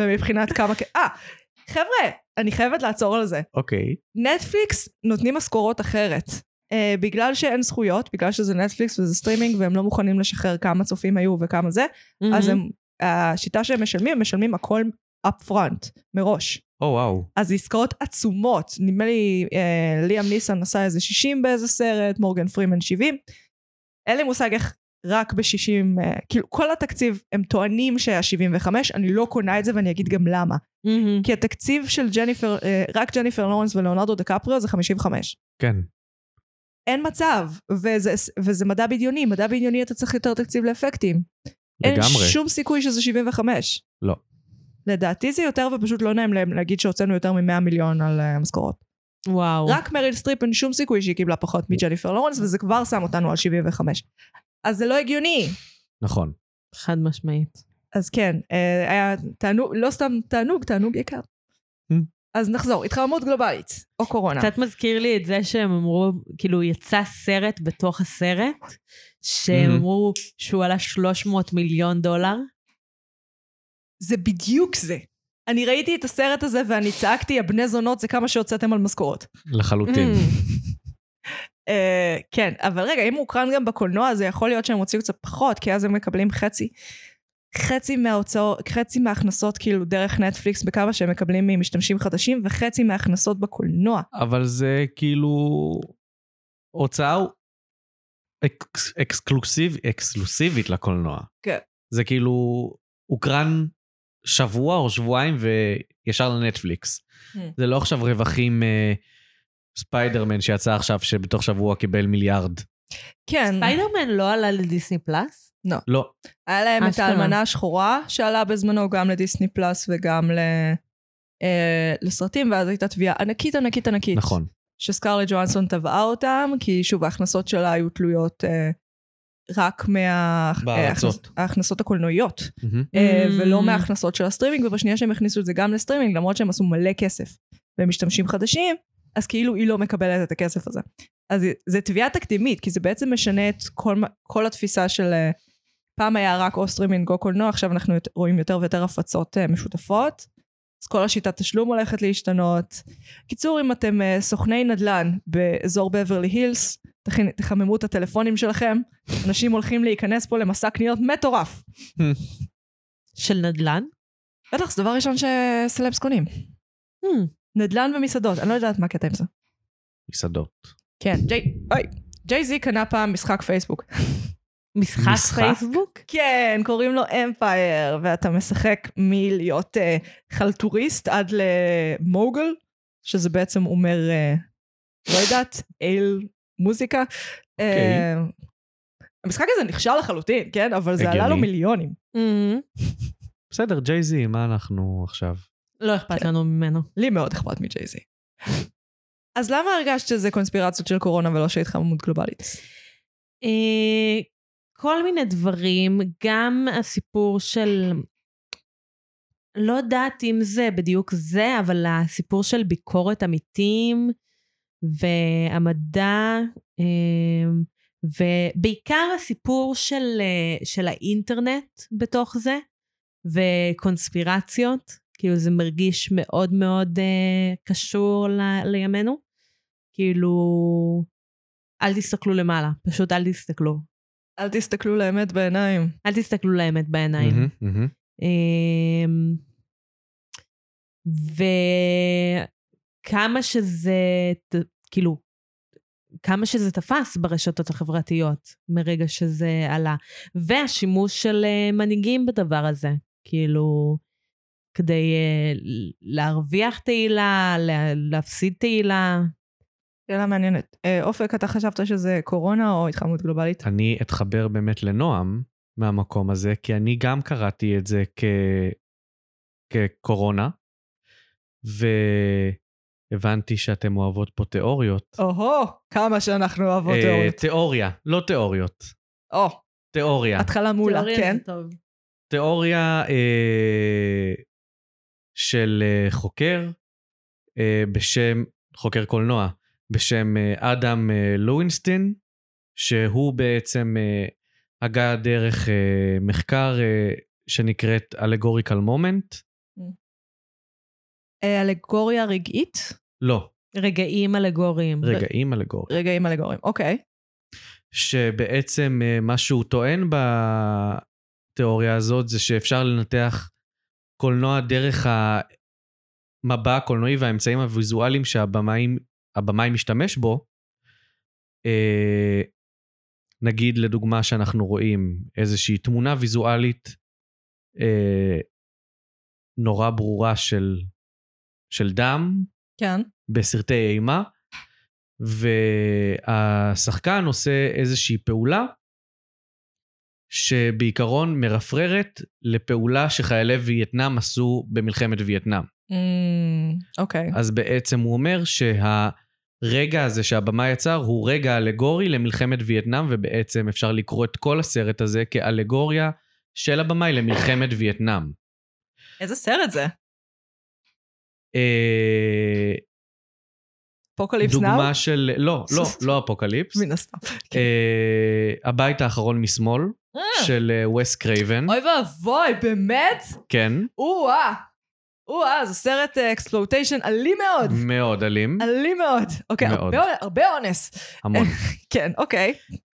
A: ומבחינת כמה... כ- אה, חבר'ה, אני חייבת לעצור על זה.
B: אוקיי.
A: נטפליקס נותנים משכורות אחרת. Uh, בגלל שאין זכויות, בגלל שזה נטפליקס וזה סטרימינג והם לא מוכנים לשחרר כמה צופים היו וכמה זה, אז הם, השיטה שהם משלמים, הם משלמים הכל up front, מראש.
B: או וואו.
A: אז זה עסקאות עצומות, נדמה לי uh, ליאם ניסן עשה איזה 60 באיזה סרט, מורגן פרימן 70. אין לי מושג איך רק ב-60, uh, כאילו כל התקציב, הם טוענים שהיה 75, אני לא קונה את זה ואני אגיד גם למה.
C: מהמם.
A: כי התקציב של ג'ניפר, אה, רק ג'ניפר לורנס ולאונרדו דקפריו זה 55.
B: כן.
A: אין מצב, וזה, וזה מדע בדיוני, מדע בדיוני אתה צריך יותר תקציב לאפקטים.
B: לגמרי.
A: אין שום סיכוי שזה 75.
B: לא.
A: לדעתי זה יותר ופשוט לא נעים להם להגיד שהוצאנו יותר מ-100 מיליון על אה, המשכורות.
C: וואו.
A: רק מריל סטריפ אין שום סיכוי שהיא קיבלה פחות מג'ניפר לורנס, וזה כבר שם אותנו על 75. אז זה לא הגיוני.
B: נכון.
C: חד משמעית.
A: אז כן, אה, היה תענוג, לא סתם תענוג, תענוג יקר.
B: Hmm.
A: אז נחזור, התחממות גלובלית, או קורונה.
C: קצת מזכיר לי את זה שהם אמרו, כאילו יצא סרט בתוך הסרט, שהם
B: מהמם.
C: אמרו שהוא עלה 300 מיליון דולר.
A: זה בדיוק זה. אני ראיתי את הסרט הזה ואני צעקתי, הבני זונות זה כמה שהוצאתם על משכורות.
B: לחלוטין.
A: Mm. Uh, כן, אבל רגע, אם הוא הוקרן גם בקולנוע, זה יכול להיות שהם הוציאו קצת פחות, כי אז הם מקבלים חצי. חצי מההוצאות, חצי מההכנסות כאילו דרך נטפליקס בכמה שהם מקבלים ממשתמשים חדשים, וחצי מההכנסות בקולנוע.
B: אבל זה כאילו... הוצאה אקס- אקסקלוסיב, אקסקלוסיבית לקולנוע.
A: כן.
B: זה כאילו הוקרן שבוע או שבועיים וישר לנטפליקס.
A: Hmm.
B: זה לא עכשיו רווחים אה, ספיידרמן שיצא עכשיו שבתוך שבוע קיבל מיליארד.
A: כן,
C: ספיידרמן לא עלה לדיסני פלאס?
B: לא.
A: היה להם את
C: אשכרה.
A: האלמנה השחורה, שעלה בזמנו גם לדיסני פלאס וגם ל... אה, לסרטים, ואז הייתה תביעה ענקית ענקית ענקית.
B: נכון.
A: שסקרלט ג'ואנסון תבעה אותם, כי שוב ההכנסות שלה היו תלויות אה, רק מההכנסות מה, אה,
B: בארצות.
A: ההכנס- ההכנסות הקולנועיות,
B: מהמם.
A: אה,
C: Mm.
A: ולא מההכנסות של הסטרימינג, ובשנייה שהם הכניסו את זה גם לסטרימינג, למרות שהם עשו מלא כסף ומשתמשים חדשים, אז כאילו היא לא מקבלת את הכסף הזה. אז זו תביעה תקדימית, כי זה בעצם משנה את כל, מה- כל התפיסה של... אה, פעם היה רק או סטרימינג או קולנוע, עכשיו אנחנו יות- רואים יותר ויותר הפצות אה, משותפות. אז כל השיטת תשלום הולכת להשתנות. קיצור, אם אתם אה, סוכני נדל"ן באזור בברלי הילס, תכין- תחממו את הטלפונים שלכם, אנשים הולכים להיכנס פה למסע קניות מטורף.
C: של נדל"ן?
A: בטח, זה דבר ראשון שסלבס קונים.
C: Hmm.
A: נדל"ן ומסעדות, אני לא יודעת מה הקטע עם זה.
B: מסעדות.
A: כן, ג'יי, אוי, ג'יי זי קנה פעם משחק פייסבוק.
C: משחק
B: משחק?
C: פייסבוק?
A: כן, קוראים לו אמפייר, ואתה משחק מלהיות אה, חלטוריסט עד למוגל, שזה בעצם אומר, אה, לא יודעת, אל מוזיקה. אה, המשחק הזה נכשל לחלוטין, כן? אבל זה עלה
B: הגיוני.
A: לו מיליונים.
B: בסדר, ג'יי זי, מה אנחנו עכשיו?
C: לא אכפת לנו ממנו.
A: לי מאוד אכפת מג'יי זי. אז למה הרגשת שזה קונספירציות של קורונה ולא של התחממות גלובלית?
C: אה, כל מיני דברים, גם הסיפור של... לא יודעת אם זה בדיוק זה, אבל הסיפור של ביקורת עמיתים והמדע, אה, ובעיקר הסיפור של, אה, של האינטרנט בתוך זה, וקונספירציות, כאילו זה מרגיש מאוד מאוד אה, קשור ל, לימינו. כאילו, אל תסתכלו למעלה, פשוט אל תסתכלו.
A: אל תסתכלו לאמת בעיניים.
C: אל תסתכלו לאמת בעיניים.
B: מהמם, מהמם.
C: אמ, וכמה שזה, ת- כאילו, כמה שזה תפס ברשתות החברתיות מרגע שזה עלה. והשימוש של אה, מנהיגים בדבר הזה, כאילו, כדי אה, ל- להרוויח תהילה, לה- להפסיד תהילה,
A: שאלה מעניינת. אה, אופק, אתה חשבת שזה קורונה או התחממות גלובלית?
B: אני אתחבר באמת לנועם מהמקום הזה, כי אני גם קראתי את זה כ... כקורונה, והבנתי שאתם אוהבות פה תיאוריות.
A: או-הו, כמה שאנחנו אוהבות
B: אה,
A: תיאוריות.
B: תיאוריה, לא תיאוריות.
A: או,
B: תיאוריה.
A: התחלה מעולה,
C: תיאוריה
A: כן.
C: זה טוב.
B: תיאוריה אה, של אה, חוקר אה, בשם, חוקר קולנוע, בשם אה, אדם אה, לוינסטין, שהוא בעצם אה, הגה דרך אה, מחקר אה, שנקראת אלגוריקל מומנט.
A: אה, אלגוריה רגעית?
B: לא,
C: רגעים אלגוריים.
B: רגעים אלגוריים.
A: רגעים אלגוריים, אוקיי.
B: שבעצם אה, מה שהוא טוען בתיאוריה הזאת זה שאפשר לנתח קולנוע דרך המבע הקולנועי והאמצעים הוויזואליים שהבמאים הבמאי משתמש בו. אה, נגיד לדוגמה שאנחנו רואים איזושהי תמונה ויזואלית אה, נורא ברורה של, של דם,
A: כן.
B: בסרטי אימה, והשחקן עושה איזושהי פעולה שבעיקרון מרפררת לפעולה שחיילי וייטנאם עשו במלחמת וייטנאם.
A: אמ, אוקיי.
B: אז בעצם הוא אומר שהרגע הזה שהבמה יצר הוא רגע אלגורי למלחמת וייטנאם, ובעצם אפשר לקרוא את כל הסרט הזה כאלגוריה של הבמאי למלחמת וייטנאם.
A: איזה סרט זה?
B: אה,
A: אפוקליפס נאו?
B: דוגמה של... לא, לא, לא אפוקליפס.
A: מן הסתם.
B: אה, הבית האחרון משמאל, של אה, וס קרייבן,
A: אוי ואבוי, באמת?
B: כן,
A: או-אה. או-אה, זה סרט אקספלוטיישן אלים מאוד.
B: מאוד אלים,
A: אלים מאוד. אוקיי,
B: מאוד.
A: הרבה אונ- הרבה אונס.
B: המון.
A: כן, אוקיי.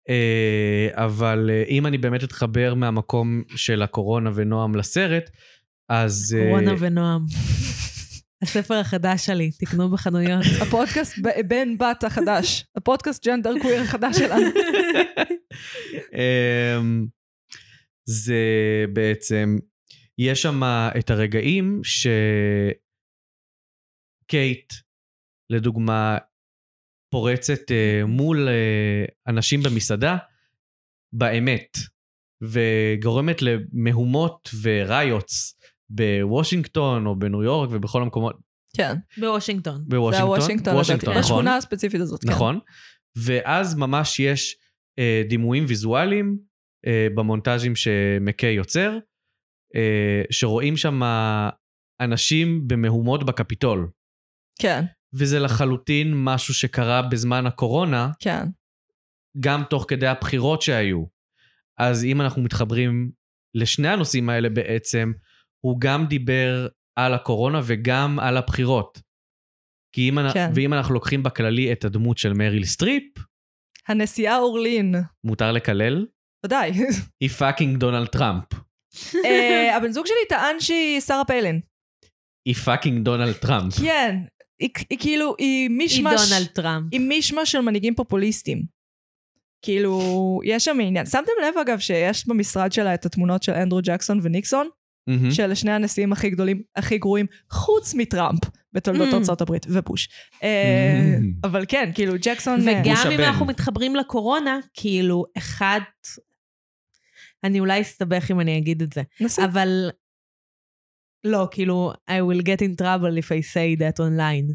B: אה, אבל אה, אם אני באמת אתחבר מהמקום של הקורונה ונועם לסרט, אז... אה,
C: רונה ונועם. הספר החדש שלי, תקנו בחנויות.
A: הפודקאסט ב- בן בת החדש. הפודקאסט ג'נדר קוויר החדש שלנו.
B: אמ, זה בעצם, יש שם את הרגעים שקייט, לדוגמה, פורצת אה, מול אה, אנשים במסעדה, באמת, וגורמת למהומות וריוטס בוושינגטון או בניו יורק ובכל המקומות,
A: כן.
C: בוושינגטון.
A: זה
B: בוושינגטון,
A: הוושינגטון.
B: וושינגטון,
A: הדוקטור.
B: נכון,
A: השכונה הספציפית הזאת, כן.
B: נכון, ואז ממש יש אה, דימויים ויזואליים אה, במונטאז'ים שמקיי יוצר, אה, שרואים שם אנשים במהומות בקפיטול,
A: כן,
B: וזה לחלוטין משהו שקרה בזמן הקורונה,
A: כן.
B: גם תוך כדי הבחירות שהיו. אז אם אנחנו מתחברים לשני הנושאים האלה בעצם, הוא גם דיבר על הקורונה וגם על הבחירות. כי אם,
A: כן.
B: כן. ואם אנחנו לוקחים בכללי את הדמות של מריל סטריפ,
A: הנשיאה אורלין.
B: מותר לקלל?
A: ודאי.
B: היא פאקינג דונלד טראמפ.
A: אה, הבן זוג שלי טען שהיא שרה פיילין.
B: היא פאקינג דונלד טראמפ.
A: כן. היא היא כאילו, היא
C: היא
A: מישמש...
C: דונלד טראמפ.
A: היא מישמש של מנהיגים פופוליסטים. כאילו, יש שם עניין. שמתם לב אגב שיש במשרד שלה את התמונות של אנדרו ג'קסון וניקסון,
B: מהמם.
A: שאלה שני הנשיאים הכי גדולים, הכי גרועים, חוץ מטראמפ, בתולדות
C: Mm.
A: ארצות הברית, ובוש. אה,
B: Mm.
A: אבל כן, כאילו, ג'קסון... אה,
C: וגם
B: הוא
C: אם
B: שבן.
C: אנחנו מתחברים לקורונה, כאילו, אחד... אני אולי אסתבך אם אני אגיד את זה,
A: נשיא.
C: אבל... לא, כאילו, I will get in trouble if I say that online.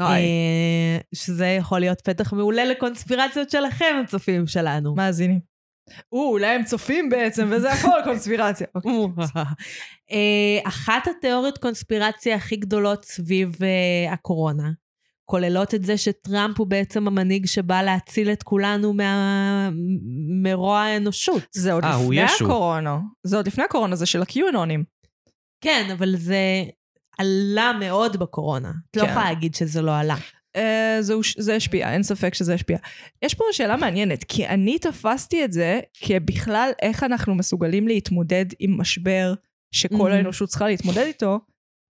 C: אה, שזה יכול להיות פתח מעולה לקונספירציות שלכם, הצופים שלנו.
A: מאזינים. או, אולי הם צופים בעצם, וזה הכל קונספירציה. אוקיי.
C: אה, אחת התיאוריות קונספירציה הכי גדולות סביב אה, הקורונה, כוללות את זה שטראמפ הוא בעצם המנהיג שבא להציל את כולנו מה- מרוע האנושות.
A: זה עוד
B: אה, הוא
A: לפני
B: ישו.
A: הקורונה. זה עוד לפני הקורונה, זה של הקיונונים.
C: כן, אבל זה עלה מאוד בקורונה. את לא
A: כן.
C: יכולה להגיד שזה לא עלה.
A: אה, זה, הוש- זה השפיע, אין ספק שזה השפיע. יש פה שאלה מעניינת, כי אני תפסתי את זה כבכלל איך אנחנו מסוגלים להתמודד עם משבר שכל
C: Mhm.
A: האנושות צריכה להתמודד איתו,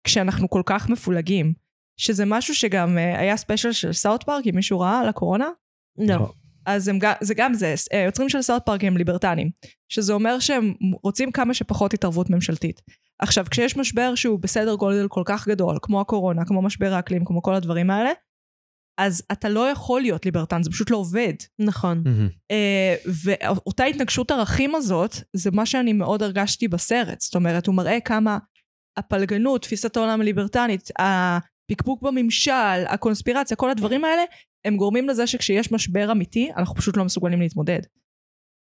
A: כשאנחנו כל כך מפולגים. שזה משהו שגם אה, היה ספיישל של סאוט פארק, אם מישהו ראה על הקורונה, נכון.
C: לא.
A: אז הם, גם- זה גם זה, אה, יוצרים של סאוט פארק הם ליברטנים, שזה אומר שהם רוצים כמה שפחות התערבות ממשלתית. עכשיו, כשיש משבר שהוא בסדר גודל כל כך גדול, כמו הקורונה, כמו משבר האקלים, כמו כל הדברים האלה, אז אתה לא יכול להיות ליברטן, זה פשוט לא עובד.
C: נכון.
B: מהמם.
A: אה, ואותה התנגשות ערכים הזאת, זה מה שאני מאוד הרגשתי בסרט. זאת אומרת, הוא מראה כמה הפלגנות, תפיסת העולם הליברטנית, הפקפוק בממשל, הקונספירציה, כל הדברים האלה, הם גורמים לזה שכשיש משבר אמיתי, אנחנו פשוט לא מסוגלים להתמודד.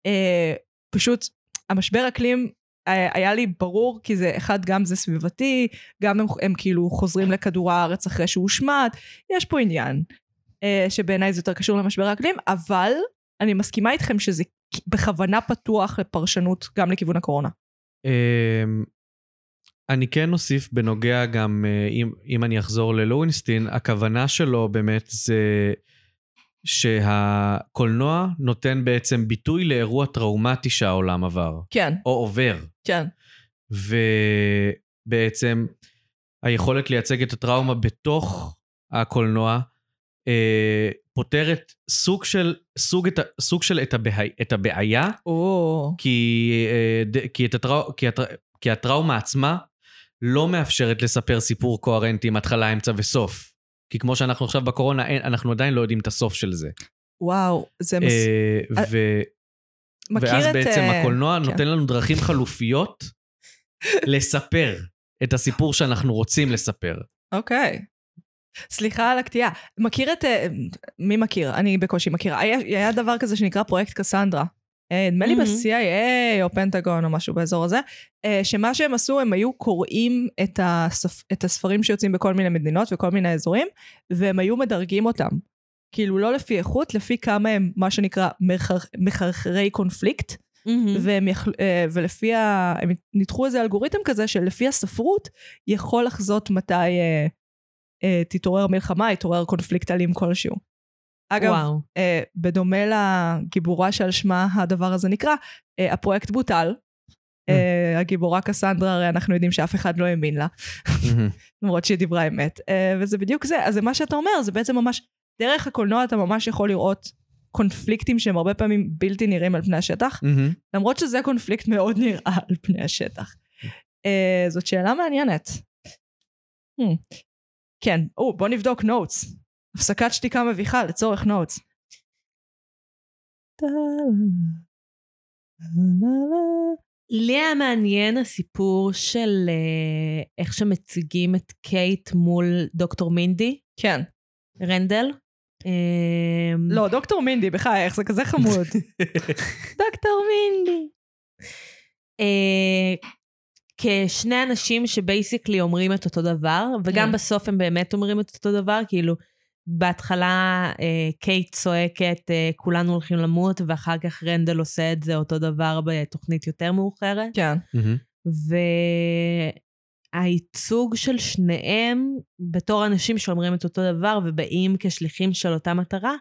A: אה, פשוט, המשבר אקלים אה, היה לי ברור, כי זה, אחד, גם זה סביבתי, גם הם, הם כאילו חוזרים לכדור הארץ אחרי שהוא הושמד, יש פה עניין. אה, שבעיניי זה יותר קשור למשבר האקלים, אבל אני מסכימה איתכם שזה בכוונה פתוח לפרשנות גם לכיוון הקורונה.
B: אמ, אני כן אוסיף בנוגע גם, אה, אם, אם אני אחזור ללוינסטין, הכוונה שלו באמת זה שהקולנוע נותן בעצם ביטוי לאירוע טראומטי שהעולם עבר,
A: כן,
B: או עובר,
A: כן.
B: ובעצם היכולת לייצג את הטראומה בתוך הקולנוע אה, פותרת סוג של, סוג את, ה- סוג של את, הבעי, את הבעיה
A: או,
B: כי, אה, ד- כי, את הטרא, כי, הטר, כי הטראומה עצמה לא מאפשרת לספר סיפור קוהרנטי עם התחלה, אמצע וסוף. כי כמו שאנחנו עכשיו בקורונה, אין, אנחנו עדיין לא יודעים את הסוף של זה.
A: וואו, זה מס...
B: אה,
A: אה,
B: ו,
A: מכיר
B: ואז
A: את...
B: בעצם
A: אה,
B: הקולנוע
A: כן.
B: נותן לנו דרכים חלופיות לספר את הסיפור שאנחנו רוצים לספר.
A: אוקיי. סליחה על הקטיעה. מכיר את... אה, מי מכיר? אני בקושי מכירה. היה, היה דבר כזה שנקרא פרויקט קסנדרה. אה, נדמה לי
C: מהמם.
A: ב-CIA או פנטגון או משהו באזור הזה, אה, שמה שהם עשו, הם היו קוראים את, הספ... את הספרים שיוצאים בכל מיני מדינות וכל מיני אזורים, והם היו מדרגים אותם. כאילו לא לפי איכות, לפי כמה הם, מה שנקרא, מחר- מחרחרי קונפליקט.
C: מהמם.
A: והם יכל, אה, ולפי ה... הם ניתחו איזה אלגוריתם כזה שלפי הספרות יכול לחזות מתי אה, אה, תתעורר מלחמה, יתעורר קונפליקט אלים כלשהו. אגב,
C: וואו.
A: אה, בדומה לגיבורה שעל שמה הדבר הזה נקרא, אה, הפרויקט בוטל. אה, הגיבורה קסנדרה, הרי אנחנו יודעים שאף אחד לא האמין לה, למרות שהיא דיברה אמת. אה, וזה בדיוק זה. אז זה מה שאתה אומר, זה בעצם ממש, דרך הקולנוע אתה ממש יכול לראות קונפליקטים שהם הרבה פעמים בלתי נראים על פני השטח. למרות שזה קונפליקט מאוד נראה על פני השטח. Uh, זאת שאלה מעניינת. Hmm. כן, או, בוא נבדוק נוטס. הפסקת שתיקה מביכה לצורך נוטס.
C: לי היה מעניין הסיפור של אה, איך שמציגים את קייט מול דוקטור מינדי
A: כן.
C: רנדל. אה,
A: לא, דוקטור מינדי, בחייך, זה כזה חמוד.
C: דוקטור מינדי. אה, כשני אנשים שבייסיקלי אומרים את אותו דבר, וגם
A: Mm.
C: בסוף הם באמת אומרים את אותו דבר, כאילו, בהתחלה אה, קייט צועקת, אה, כולנו הולכים למות, ואחר כך רנדל עושה את זה אותו דבר בתוכנית יותר מאוחרת.
A: כן.
C: והייצוג של שניהם בתור אנשים שאומרים את אותו דבר ובאים כשליחים של אותה מטרה,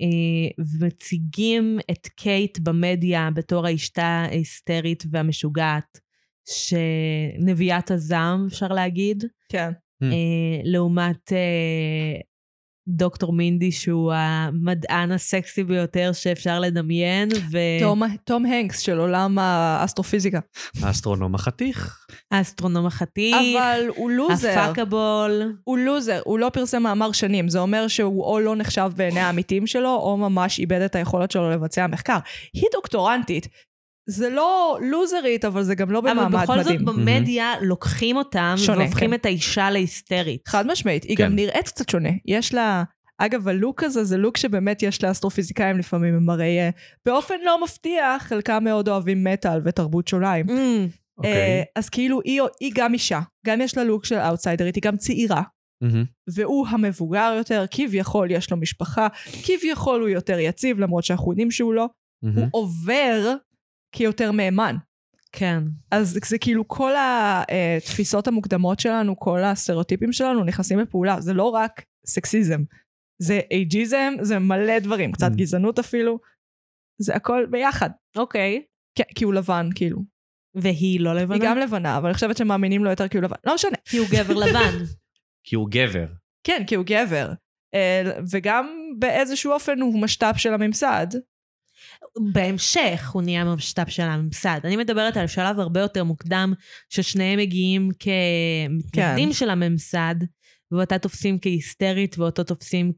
C: אה, ומציגים את קייט במדיה בתור האשתה ההיסטרית והמשוגעת, שנביאת הזעם, אפשר להגיד,
A: כן.
C: אה, לעומת אה, דוקטור מינדי, שהוא המדען הסקסי ביותר שאפשר לדמיין,
A: תום- תום הנקס של עולם האסטרופיזיקה.
B: האסטרונום
A: אה,
B: החתיך.
C: והאסטרונום החתיך.
A: אבל הוא לוזר.
C: הפאקבול.
A: הוא לוזר, הוא לא פרסם מאמר שנים, זה אומר שהוא או לא נחשב בעיני העמיתים שלו, או ממש איבד את היכולת שלו לבצע מחקר. היא דוקטורנטית. זה לא לוזרית, אבל זה גם לא במעמד
C: אבל
A: מדהים.
C: בכל זאת במדיה לוקחים אותם
A: שונה,
C: והופכים
A: כן.
C: את האישה להיסטרית.
A: חד משמעית, היא
B: כן.
A: גם נראית קצת שונה. יש לה... אגב, הלוק הזה זה לוק שבאמת יש לאסטרופיזיקאים לפעמים, הם הרי אה, באופן לא מפתיע, חלקם מאוד אוהבים מטאל ותרבות
C: Mm.
A: שוליים. אה,
B: אוקיי.
A: אז כאילו, היא, היא גם אישה, גם יש לה לוק של אאוטסיידרית, היא גם צעירה.
B: מהמם.
A: והוא המבוגר יותר, כביכול יש לו משפחה, כביכול הוא יותר יציב, למרות שאנחנו יודעים שהוא לא,
B: מהמם.
A: הוא עובר כיותר מהימן.
C: כן.
A: אז זה כאילו כל התפיסות המוקדמות שלנו, כל הסטריאוטיפים שלנו נכנסים לפעולה. זה לא רק סקסיזם, זה אייג'יזם, זה מלא דברים, קצת
B: Mm.
A: גזענות אפילו, זה הכל ביחד.
C: אוקיי.
A: כן, כי הוא לבן, כאילו.
C: והיא לא לבנה?
A: היא גם לבנה, אבל אני חושבת שמאמינים לו יותר כי הוא לבן. לא משנה.
C: כי הוא גבר לבן.
B: כי הוא גבר.
A: כן, כי הוא גבר. אה, וגם באיזשהו אופן הוא משת"פ של הממסד.
C: בהמשך הוא נהיה משת"פ של הממסד. אני מדברת על
A: כן.
C: שלב הרבה יותר מוקדם, ששניהם מגיעים כמתנגדים של הממסד, ואותה תופסים כהיסטרית, ואותו תופסים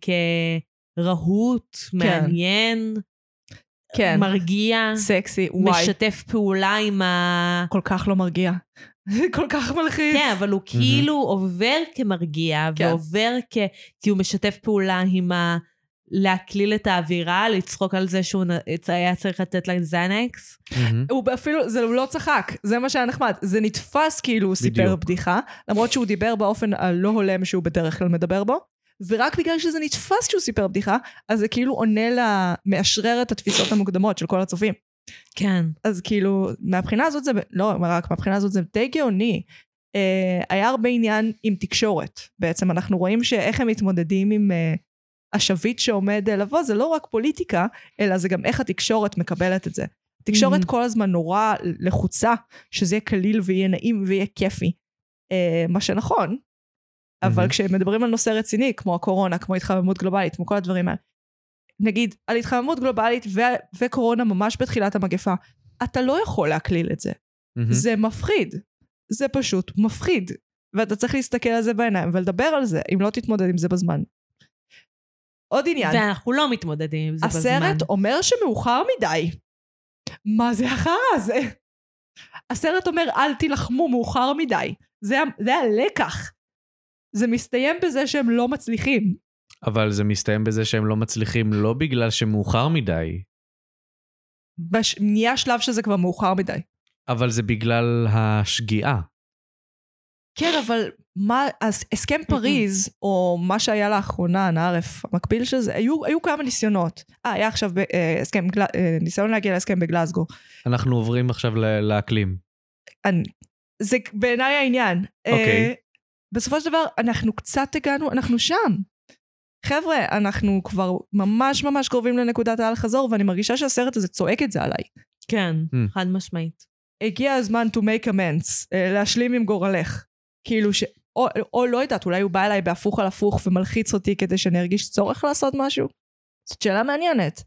C: כרהוט, מעניין,
A: כן.
C: מרגיע,
A: סקסי, וואי,
C: משתף פעולה עם ה...
A: כל כך לא מרגיע. כל כך מלחיץ.
C: כן, אבל הוא כאילו עובר כמרגיע,
A: Mm-hmm. כן.
C: ועובר כ... כי הוא משתף פעולה עם ה... להקליל את האווירה, לצחוק על זה שהוא נ- היה צריך לתת לה זנקס.
B: מהמם.
A: הוא אפילו, זה הוא לא צחק, זה מה שהיה נחמד. זה נתפס כאילו הוא סיפר
B: בדיוק.
A: בדיחה, למרות שהוא דיבר באופן הלא הולם שהוא בדרך כלל מדבר בו, ורק בגלל שזה נתפס שהוא סיפר בדיחה, אז זה כאילו עונה ל... מאשרר את התפיסות המוקדמות של כל הצופים.
C: כן.
A: אז כאילו, מהבחינה הזאת זה, לא רק, מהבחינה הזאת זה די גאוני. אה, היה הרבה עניין עם תקשורת. בעצם אנחנו רואים שאיך הם מתמודדים עם אה, השביט שעומד אה, לבוא, זה לא רק פוליטיקה, אלא זה גם איך התקשורת מקבלת את זה. התקשורת
C: Mhm.
A: כל הזמן נורא לחוצה, שזה יהיה קליל ויהיה נעים ויהיה כיפי. אה, מה שנכון, אבל
B: Mhm.
A: כשמדברים על נושא רציני, כמו הקורונה, כמו התחממות גלובלית, כמו כל הדברים האלה, נגיד, על התחממות גלובלית ו- וקורונה ממש בתחילת המגפה, אתה לא יכול להקליל את זה.
B: מהמם.
A: זה מפחיד. זה פשוט מפחיד. ואתה צריך להסתכל על זה בעיניים ולדבר על זה, אם לא תתמודד עם זה בזמן. עוד עניין,
C: ואנחנו לא מתמודדים עם זה בזמן.
A: הסרט אומר שמאוחר מדי. מה זה החרא הזה? הסרט אומר אל תילחמו מאוחר מדי. זה, ה- זה הלקח. זה מסתיים בזה שהם לא מצליחים.
B: אבל זה מסתיים בזה שהם לא מצליחים לא בגלל שמאוחר מדי,
A: בש... נהיה שלב שזה כבר מאוחר מדי.
B: אבל זה בגלל השגיאה.
A: כן, אבל מה, אז הסכם פריז, או מה שהיה לאחרונה, נערף, המקביל של זה, היו, היו כמה ניסיונות. אה, היה עכשיו ב, אה, הסכם, גל, אה, ניסיון להגיע להסכם בגלזגו.
B: אנחנו עוברים עכשיו ל- לאקלים.
A: אני, זה בעיניי העניין.
B: אוקיי.
A: אה, בסופו של דבר, אנחנו קצת הגענו, אנחנו שם. חבר'ה, אנחנו כבר ממש ממש קרובים לנקודת האל-חזור, ואני מרגישה שהסרט הזה צועק את זה עליי.
C: כן,
A: Mm.
B: Hmm.
C: חד משמעית.
A: הגיע הזמן to make amends, אה, להשלים עם גורלך. כאילו ש... או, או לא יודעת, אולי הוא בא אליי בהפוך על הפוך ומלחיץ אותי כדי שאני ארגיש צורך לעשות משהו? זאת שאלה מעניינת.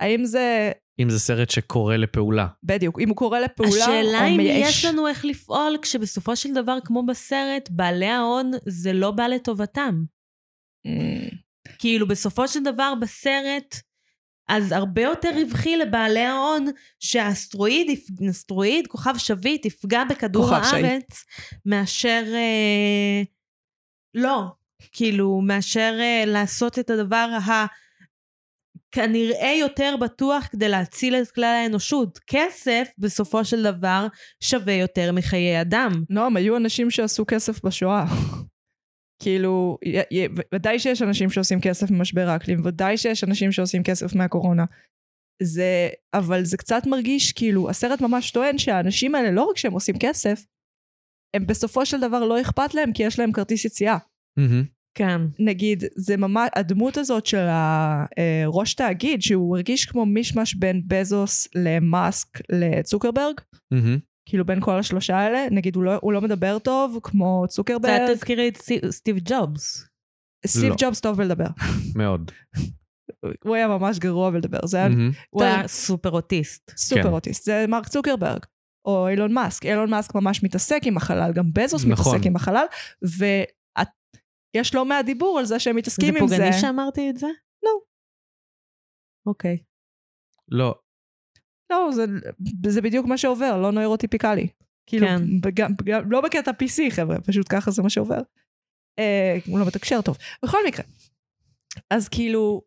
A: האם זה...
B: אם זה סרט שקורא לפעולה.
A: בדיוק, אם הוא קורא לפעולה או אה, מייאש.
C: השאלה אם יש לנו איך לפעול, כשבסופו של דבר, כמו בסרט, בעלי ההון, זה לא בא לטובתם.
A: Mm,
C: כאילו, בסופו של דבר, בסרט, אז הרבה יותר רווחי לבעלי ההון שהאסטרואיד, יפ- אסטרואיד, כוכב שביט, יפגע בכדור
A: כוכב
C: הארץ, מאשר... אה, לא. כאילו, מאשר אה, לעשות את הדבר ה... כנראה יותר בטוח כדי להציל את כלל האנושות. כסף, בסופו של דבר, שווה יותר מחיי אדם.
A: נועם, היו אנשים שעשו כסף בשואה. כאילו, י- י- ו- ודאי שיש אנשים שעושים כסף ממשבר האקלים, ודאי שיש אנשים שעושים כסף מהקורונה. זה, אבל זה קצת מרגיש כאילו, הסרט ממש טוען שהאנשים האלה, לא רק שהם עושים כסף, הם בסופו של דבר לא אכפת להם כי יש להם כרטיס יציאה.
B: מהמם.
C: כן.
A: נגיד, זה ממש, הדמות הזאת של הראש תאגיד, שהוא הרגיש כמו מישמש בין בזוס למאסק לצוקרברג,
B: מהמם.
A: כאילו בין כל השלושה האלה, נגיד הוא לא, הוא לא מדבר טוב, כמו
C: קצת
A: צוקרברג,
C: תזכירי את סטיב- סטיב ג'ובס.
A: סטיב
B: לא.
A: ג'ובס טוב בלדבר.
B: מאוד.
A: הוא היה ממש גרוע בלדבר, זה היה
B: מהמם.
C: הוא
A: טוב.
C: היה סופר אוטיסט.
A: סופר
B: כן.
A: אוטיסט, זה מרק צוקרברג. או אילון מאסק, אילון מאסק ממש מתעסק עם החלל, גם בזוס
B: נכון.
A: מתעסק עם החלל, ויש לא מעט דיבור על זה שהם מתעסקים עם זה.
C: זה פוגעני שאמרתי את זה?
A: לא.
C: אוקיי.
B: לא,
A: לא, זה, זה בדיוק מה שעובר, לא נוירוטיפיקלי. כאילו,
C: כן.
A: בג, בג, לא בקטע PC, חבר'ה, פשוט ככה זה מה שעובר. אה, הוא לא מתקשר טוב. בכל מקרה. אז כאילו,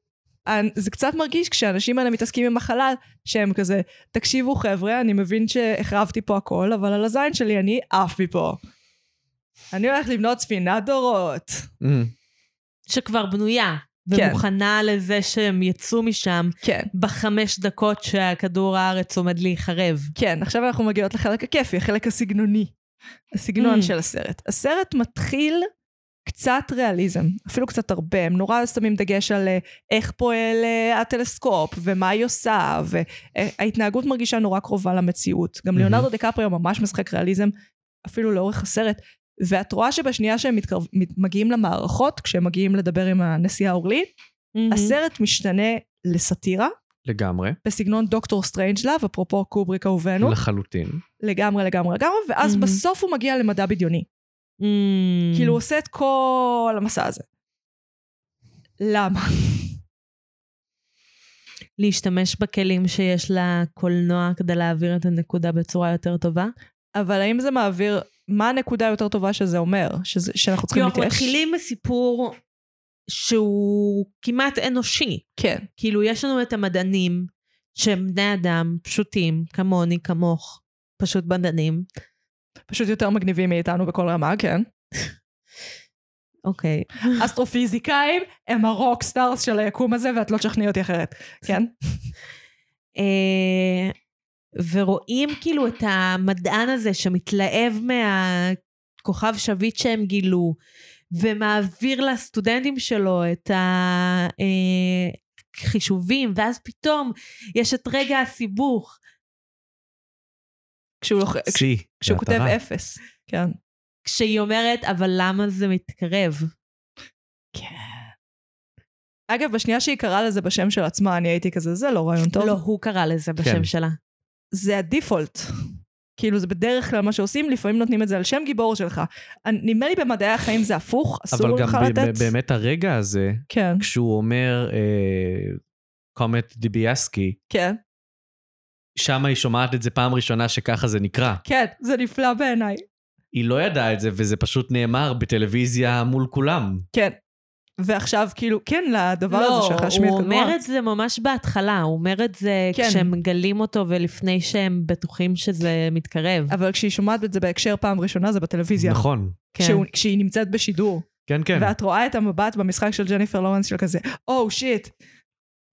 A: אנ- זה קצת מרגיש כשאנשים האלה מתעסקים עם החלל, שהם כזה, תקשיבו חבר'ה, אני מבין שהחרבתי פה הכל, אבל על הזין שלי אני עף מפה. אני הולך לבנות ספינת דורות.
B: מהמם.
C: שכבר בנויה.
A: כן.
C: ומוכנה לזה שהם יצאו משם
A: כן.
C: בחמש דקות שהכדור הארץ עומד להיחרב.
A: כן, עכשיו אנחנו מגיעות לחלק הכיפי, החלק הסגנוני. הסגנון
C: Mm.
A: של הסרט. הסרט מתחיל קצת ריאליזם, אפילו קצת הרבה. הם נורא שמים דגש על אה, איך פועל אה, הטלסקופ, ומה היא עושה, וההתנהגות מרגישה נורא קרובה למציאות. גם
B: מהמם.
A: ליאונרדו דקפריו ממש משחק ריאליזם, אפילו לאורך הסרט. ואת רואה שבשנייה שהם מתקרב, מת- מגיעים למערכות, כשהם מגיעים לדבר עם הנשיאה אורלין,
C: Mm-hmm.
A: הסרט משתנה לסאטירה,
B: לגמרי.
A: בסגנון דוקטור סטריינג'לאב, אפרופו קובריק אהובנו.
B: לחלוטין.
A: לגמרי לגמרי לגמרי, ואז
C: Mhm.
A: בסוף הוא מגיע למדע בדיוני.
C: Mm.
A: כאילו הוא עושה את כל המסע הזה. למה?
C: להשתמש בכלים שיש לקולנוע כדי להעביר את הנקודה בצורה יותר טובה.
A: אבל האם זה מעביר, מה הנקודה היותר טובה שזה אומר? שזה, שאנחנו צריכים
C: כאילו
A: להתייאש?
C: אנחנו מתחילים בסיפור שהוא כמעט אנושי.
A: כן.
C: כאילו, יש לנו את המדענים, שהם בני אדם פשוטים, כמוני, כמוך, פשוט מדענים.
A: פשוט יותר מגניבים מאיתנו בכל רמה, כן.
C: אוקיי.
A: אסטרופיזיקאים הם הרוקסטארס של היקום הזה, ואת לא תשכנעי אותי אחרת. כן?
C: אה, ורואים כאילו את המדען הזה שמתלהב מהכוכב שביט שהם גילו, ומעביר לסטודנטים שלו את החישובים, ואז פתאום יש את רגע הסיבוך.
A: כשהוא, לוח...
B: שיא.
A: כשהוא כותב
B: מטרה.
A: אפס. כן.
C: כשהיא אומרת, אבל למה זה מתקרב?
A: אגב, בשנייה שהיא קראה לזה בשם של עצמה, אני הייתי כזה, זה לא רעיון טוב.
C: לא, הוא קרא לזה בשם
B: כן.
C: שלה.
A: זה הדיפולט. כאילו, זה בדרך כלל מה שעושים, לפעמים נותנים את זה על שם גיבור שלך. אני- נדמה לי במדעי החיים זה הפוך,
B: אבל
A: אסור
B: גם
A: לך
B: ב-
A: לתת.
B: ב- באמת הרגע הזה,
A: כן,
B: כשהוא אומר אה, קומט דיביאסקי,
A: כן,
B: שם היא שומעת את זה פעם ראשונה שככה זה נקרא.
A: כן, זה נפלא בעיניי.
B: היא לא ידעה את זה, וזה פשוט נאמר בטלוויזיה מול כולם.
A: כן. ועכשיו, כאילו, כן, לדבר הזה שלך להשמיע
C: לא, הוא
A: את כדור
C: אומר
A: הארץ.
C: את זה ממש בהתחלה, הוא אומר את זה
A: כן.
C: כשהם מגלים אותו ולפני שהם בטוחים שזה מתקרב.
A: אבל כשהיא שומעת את זה בהקשר פעם ראשונה, זה בטלוויזיה.
B: נכון.
C: כן.
A: כשהוא- כשהיא נמצאת בשידור,
B: כן, כן.
A: ואת רואה את המבט במשחק של ג'ניפר לורנס של כזה, "Oh, או שיט.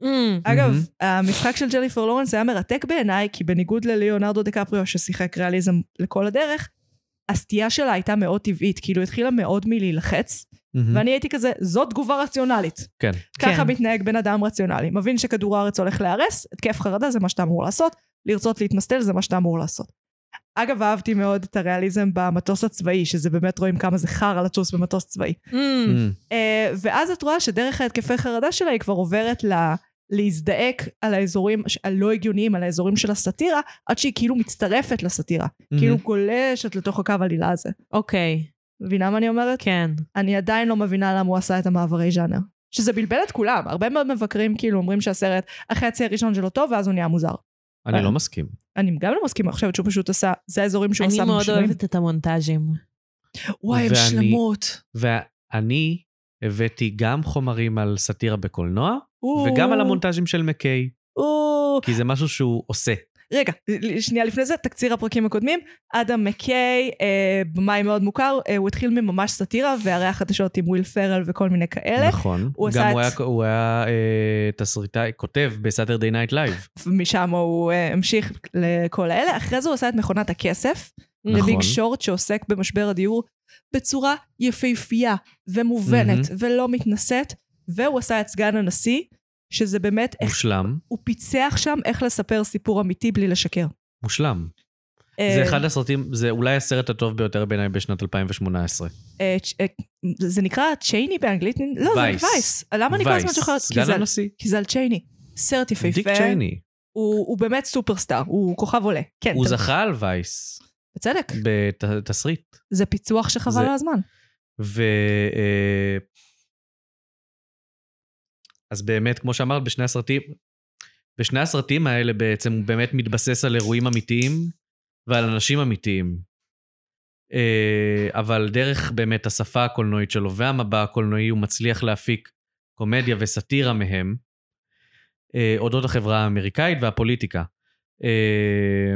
C: Mm.
A: אגב, המשחק של ג'ניפר לורנס היה מרתק בעיניי, כי בניגוד לליאונרדו דקפריו ששיחק ריאליזם לכל הדרך, הסטייה שלה הייתה מאוד טבעית, כאילו התחילה מאוד מלהילחץ,
B: מהמם.
A: ואני Mm. הייתי כזה, זאת תגובה רציונלית.
B: כן.
A: ככה
C: כן.
A: מתנהג בן אדם רציונלי. מבין שכדור הארץ הולך להיהרס, התקף חרדה זה מה שאתה אמור לעשות, לרצות להתמסטל זה מה שאתה אמור לעשות. אגב, אהבתי מאוד את הריאליזם במטוס הצבאי, שזה באמת רואים כמה זה חרא לטוס במטוס צבאי.
C: Mm.
B: מהמם.
A: אה, ואז את רואה שדרך ההתקפי חרדה שלה היא כבר עוברת ל... להזדעק על האזורים ש- הלא הגיוניים, על האזורים של הסאטירה, עד שהיא כאילו מצטרפת לסאטירה.
B: מהמם.
A: כאילו גולשת לתוך הקו עלילה הזה.
C: אוקיי,
A: מבינה מה אני אומרת?
C: כן.
A: אני עדיין לא מבינה למה הוא עשה את המעברי ז'אנר. שזה בלבל את כולם, הרבה מאוד מבקרים כאילו אומרים שהסרט, החצי הראשון שלו טוב ואז הוא נהיה מוזר.
B: אני לא מסכים.
A: אני גם לא מסכימה, אני חושבת שהוא פשוט עשה, זה האזורים שהוא עשה
C: אני מאוד
A: משלמים.
C: אוהבת את המונטאז'ים.
A: וואי, הם
B: ואני-
A: שלמות.
B: ואני הבאתי גם חומרים על סאטירה בקולנוע, וגם על המונטאז'ים של מקיי,
A: או,
B: כי זה משהו שהוא עושה.
A: רגע, שנייה לפני זה, תקציר הפרקים הקודמים. אדם מקיי, אה, במאי מאוד מוכר, אה, הוא התחיל מממש סאטירה, והרי החדשות עם וויל פרל וכל מיני כאלה.
B: נכון.
A: הוא עשה
B: גם הוא
A: את-
B: היה- הוא היה אה, תסריטאי, כותב בסאטרדי נייט לייב.
A: משם הוא אה, המשיך לכל האלה. אחרי זה הוא עשה את מכונת הכסף.
B: נכון.
A: לביג שורט שעוסק במשבר הדיור בצורה יפהפייה ומובנת mm-hmm. ולא מתנשאת, והוא עשה את סגן הנשיא, שזה באמת, איך,
B: מושלם.
A: הוא פיצח שם איך לספר סיפור אמיתי בלי לשקר.
B: מושלם.
A: אה.
B: זה אחד הסרטים, זה אולי הסרט הטוב ביותר בעיניי בשנת 2018.
A: אה, צ'- אה, זה נקרא צ'ייני באנגלית? לא, זה
B: וייס.
A: וייס. למה אני כל הזמן
B: וייס,
A: זוכרת? כי זה
B: סגן
A: על-
B: הנשיא.
A: כי זה על צ'ייני. סרט יפהפה.
B: דיק צ'ייני.
A: כן, הוא הוא באמת סופרסטאר, הוא כוכב עולה. כן,
B: הוא
A: אתה-
B: זכה על וייס
A: בצדק.
B: בתסריט.
A: זה פיצוח שחבל
B: זה-
A: על הזמן.
B: ו... אה, אז באמת, כמו שאמרת, בשני הסרטים, בשני הסרטים האלה בעצם הוא באמת מתבסס על אירועים אמיתיים ועל אנשים אמיתיים. אה, אבל דרך באמת השפה הקולנועית שלו והמבע הקולנועי, הוא מצליח להפיק קומדיה וסאטירה מהם, אה, אודות החברה האמריקאית והפוליטיקה. אה,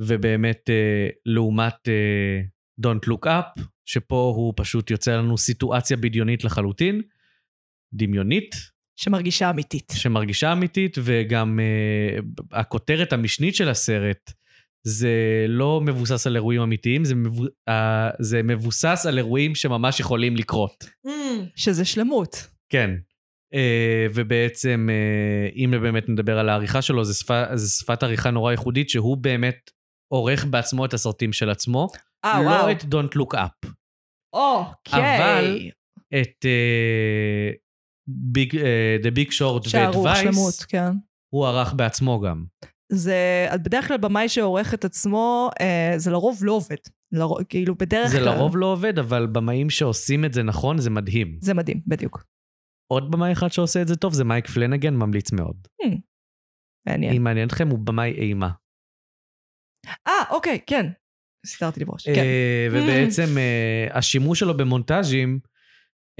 B: ובאמת, אה, לעומת אה, Don't Look Up, שפה הוא פשוט יוצר לנו סיטואציה בדיונית לחלוטין, דמיונית,
A: שמרגישה אמיתית.
B: שמרגישה אמיתית, וגם uh, הכותרת המשנית של הסרט, זה לא מבוסס על אירועים אמיתיים, זה, מבו, uh, זה מבוסס על אירועים שממש יכולים לקרות.
A: שזה שלמות.
B: כן. Uh, ובעצם, uh, אם באמת נדבר על העריכה שלו, זה, שפה, זה שפת עריכה נורא ייחודית, שהוא באמת עורך בעצמו את הסרטים של עצמו.
A: אה,
B: לא
A: וואו.
B: את Don't Look Up.
A: אוקיי.
B: אבל את אה, ביג, אה, The Big Short ואת
A: שערוך
B: וייס,
A: שלמות, כן.
B: הוא ערך בעצמו גם.
A: זה בדרך כלל במאי שעורך את עצמו, אה, זה לרוב לא עובד. לרוב, כאילו, בדרך
B: זה
A: כלל...
B: לרוב לא עובד, אבל במאים שעושים את זה נכון, זה מדהים.
A: זה מדהים, בדיוק.
B: עוד במאי אחד שעושה את זה טוב זה מייק פלנגן, ממליץ מאוד.
A: מעניין.
B: אם מעניין אתכם, הוא במאי אימה.
A: אה, אוקיי, כן. סידרתי לברוש. כן.
B: אה, ובעצם אה, השימוש שלו במונטאז'ים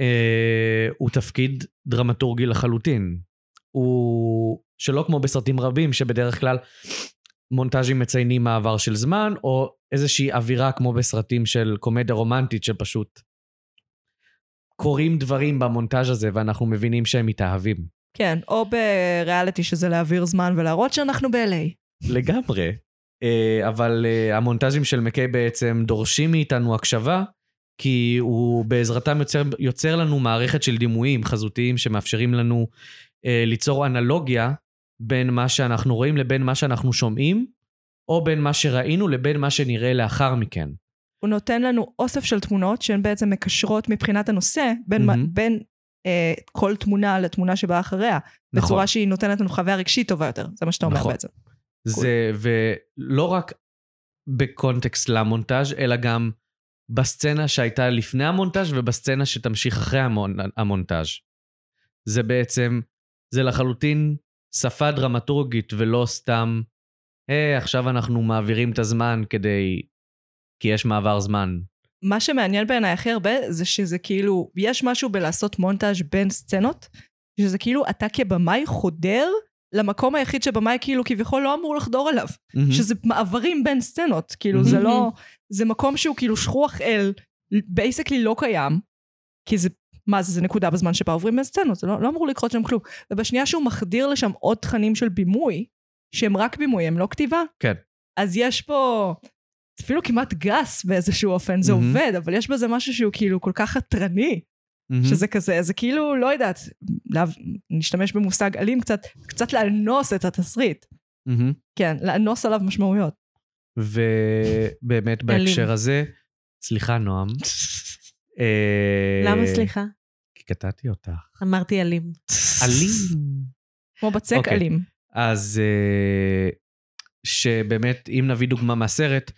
B: אה, הוא תפקיד דרמטורגי לחלוטין. הוא שלא כמו בסרטים רבים, שבדרך כלל מונטאז'ים מציינים מעבר של זמן, או איזושהי אווירה כמו בסרטים של קומדיה רומנטית, שפשוט קורים דברים במונטאז' הזה, ואנחנו מבינים שהם מתאהבים.
A: כן, או בריאליטי שזה להעביר זמן ולהראות שאנחנו ב-LA.
B: לגמרי. אה, אבל אה, המונטאז'ים של מקיי בעצם דורשים מאיתנו הקשבה, כי הוא בעזרתם יוצר, יוצר לנו מערכת של דימויים חזותיים שמאפשרים לנו אה, ליצור אנלוגיה בין מה שאנחנו רואים לבין מה שאנחנו שומעים, או בין מה שראינו לבין מה שנראה לאחר מכן.
A: הוא נותן לנו אוסף של תמונות שהן בעצם מקשרות מבחינת הנושא בין, mm-hmm.
B: מהמם.
A: בין אה, כל תמונה לתמונה שבאה אחריה. נכון. בצורה שהיא נותנת לנו חוויה רגשית טובה יותר, זה מה שאתה אומר
B: נכון.
A: בעצם.
B: זה, ולא רק בקונטקסט למונטאז', אלא גם בסצנה שהייתה לפני המונטאז' ובסצנה שתמשיך אחרי המונ, המונטאז'. זה בעצם, זה לחלוטין שפה דרמטורגית ולא סתם, היי, עכשיו אנחנו מעבירים את הזמן כדי... כי יש מעבר זמן.
A: מה שמעניין בעיניי הכי הרבה זה שזה כאילו, יש משהו בלעשות מונטאז' בין סצנות, שזה כאילו אתה כבמאי חודר למקום היחיד שבמאי כאילו כביכול לא אמור לחדור אליו, mm-hmm. שזה מעברים בין סצנות, כאילו זה לא, זה מקום שהוא כאילו שכוח אל, בייסקלי לא קיים, כי זה, מה זה, זה נקודה בזמן שבה עוברים בין סצנות, זה לא, לא אמור לקרות שם כלום. ובשנייה שהוא מחדיר לשם עוד תכנים של בימוי, שהם רק בימוי, הם לא כתיבה,
B: כן.
A: אז יש פה אפילו כמעט גס באיזשהו אופן, זה
B: מהמם.
A: עובד, אבל יש בזה משהו שהוא כאילו כל כך חתרני,
B: Mm-hmm.
A: שזה כזה, זה כאילו, לא יודעת, להב- נשתמש במושג אלים קצת, קצת לאנוס את התסריט.
B: מהמם.
A: כן, לאנוס עליו משמעויות.
B: ובאמת בהקשר הזה, סליחה, נועם. אה,
C: למה סליחה?
B: כי קטעתי אותך.
C: אמרתי אלים.
B: אלים.
A: כמו בצק
B: אוקיי.
A: אלים.
B: אז אה, שבאמת, אם נביא דוגמה מהסרט,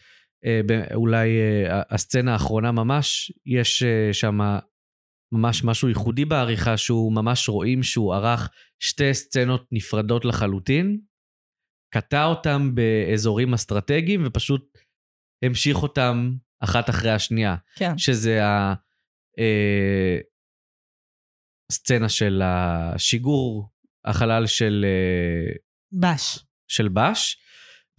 B: אה, ב- אולי אה, הסצנה האחרונה ממש, יש אה, שם ממש משהו ייחודי בעריכה, שהוא ממש רואים שהוא ערך שתי סצנות נפרדות לחלוטין, קטע אותם באזורים אסטרטגיים ופשוט המשיך אותם אחת אחרי השנייה.
A: כן.
B: שזה ה... אה, סצנה של השיגור החלל של, אה,
C: בש.
B: של בש,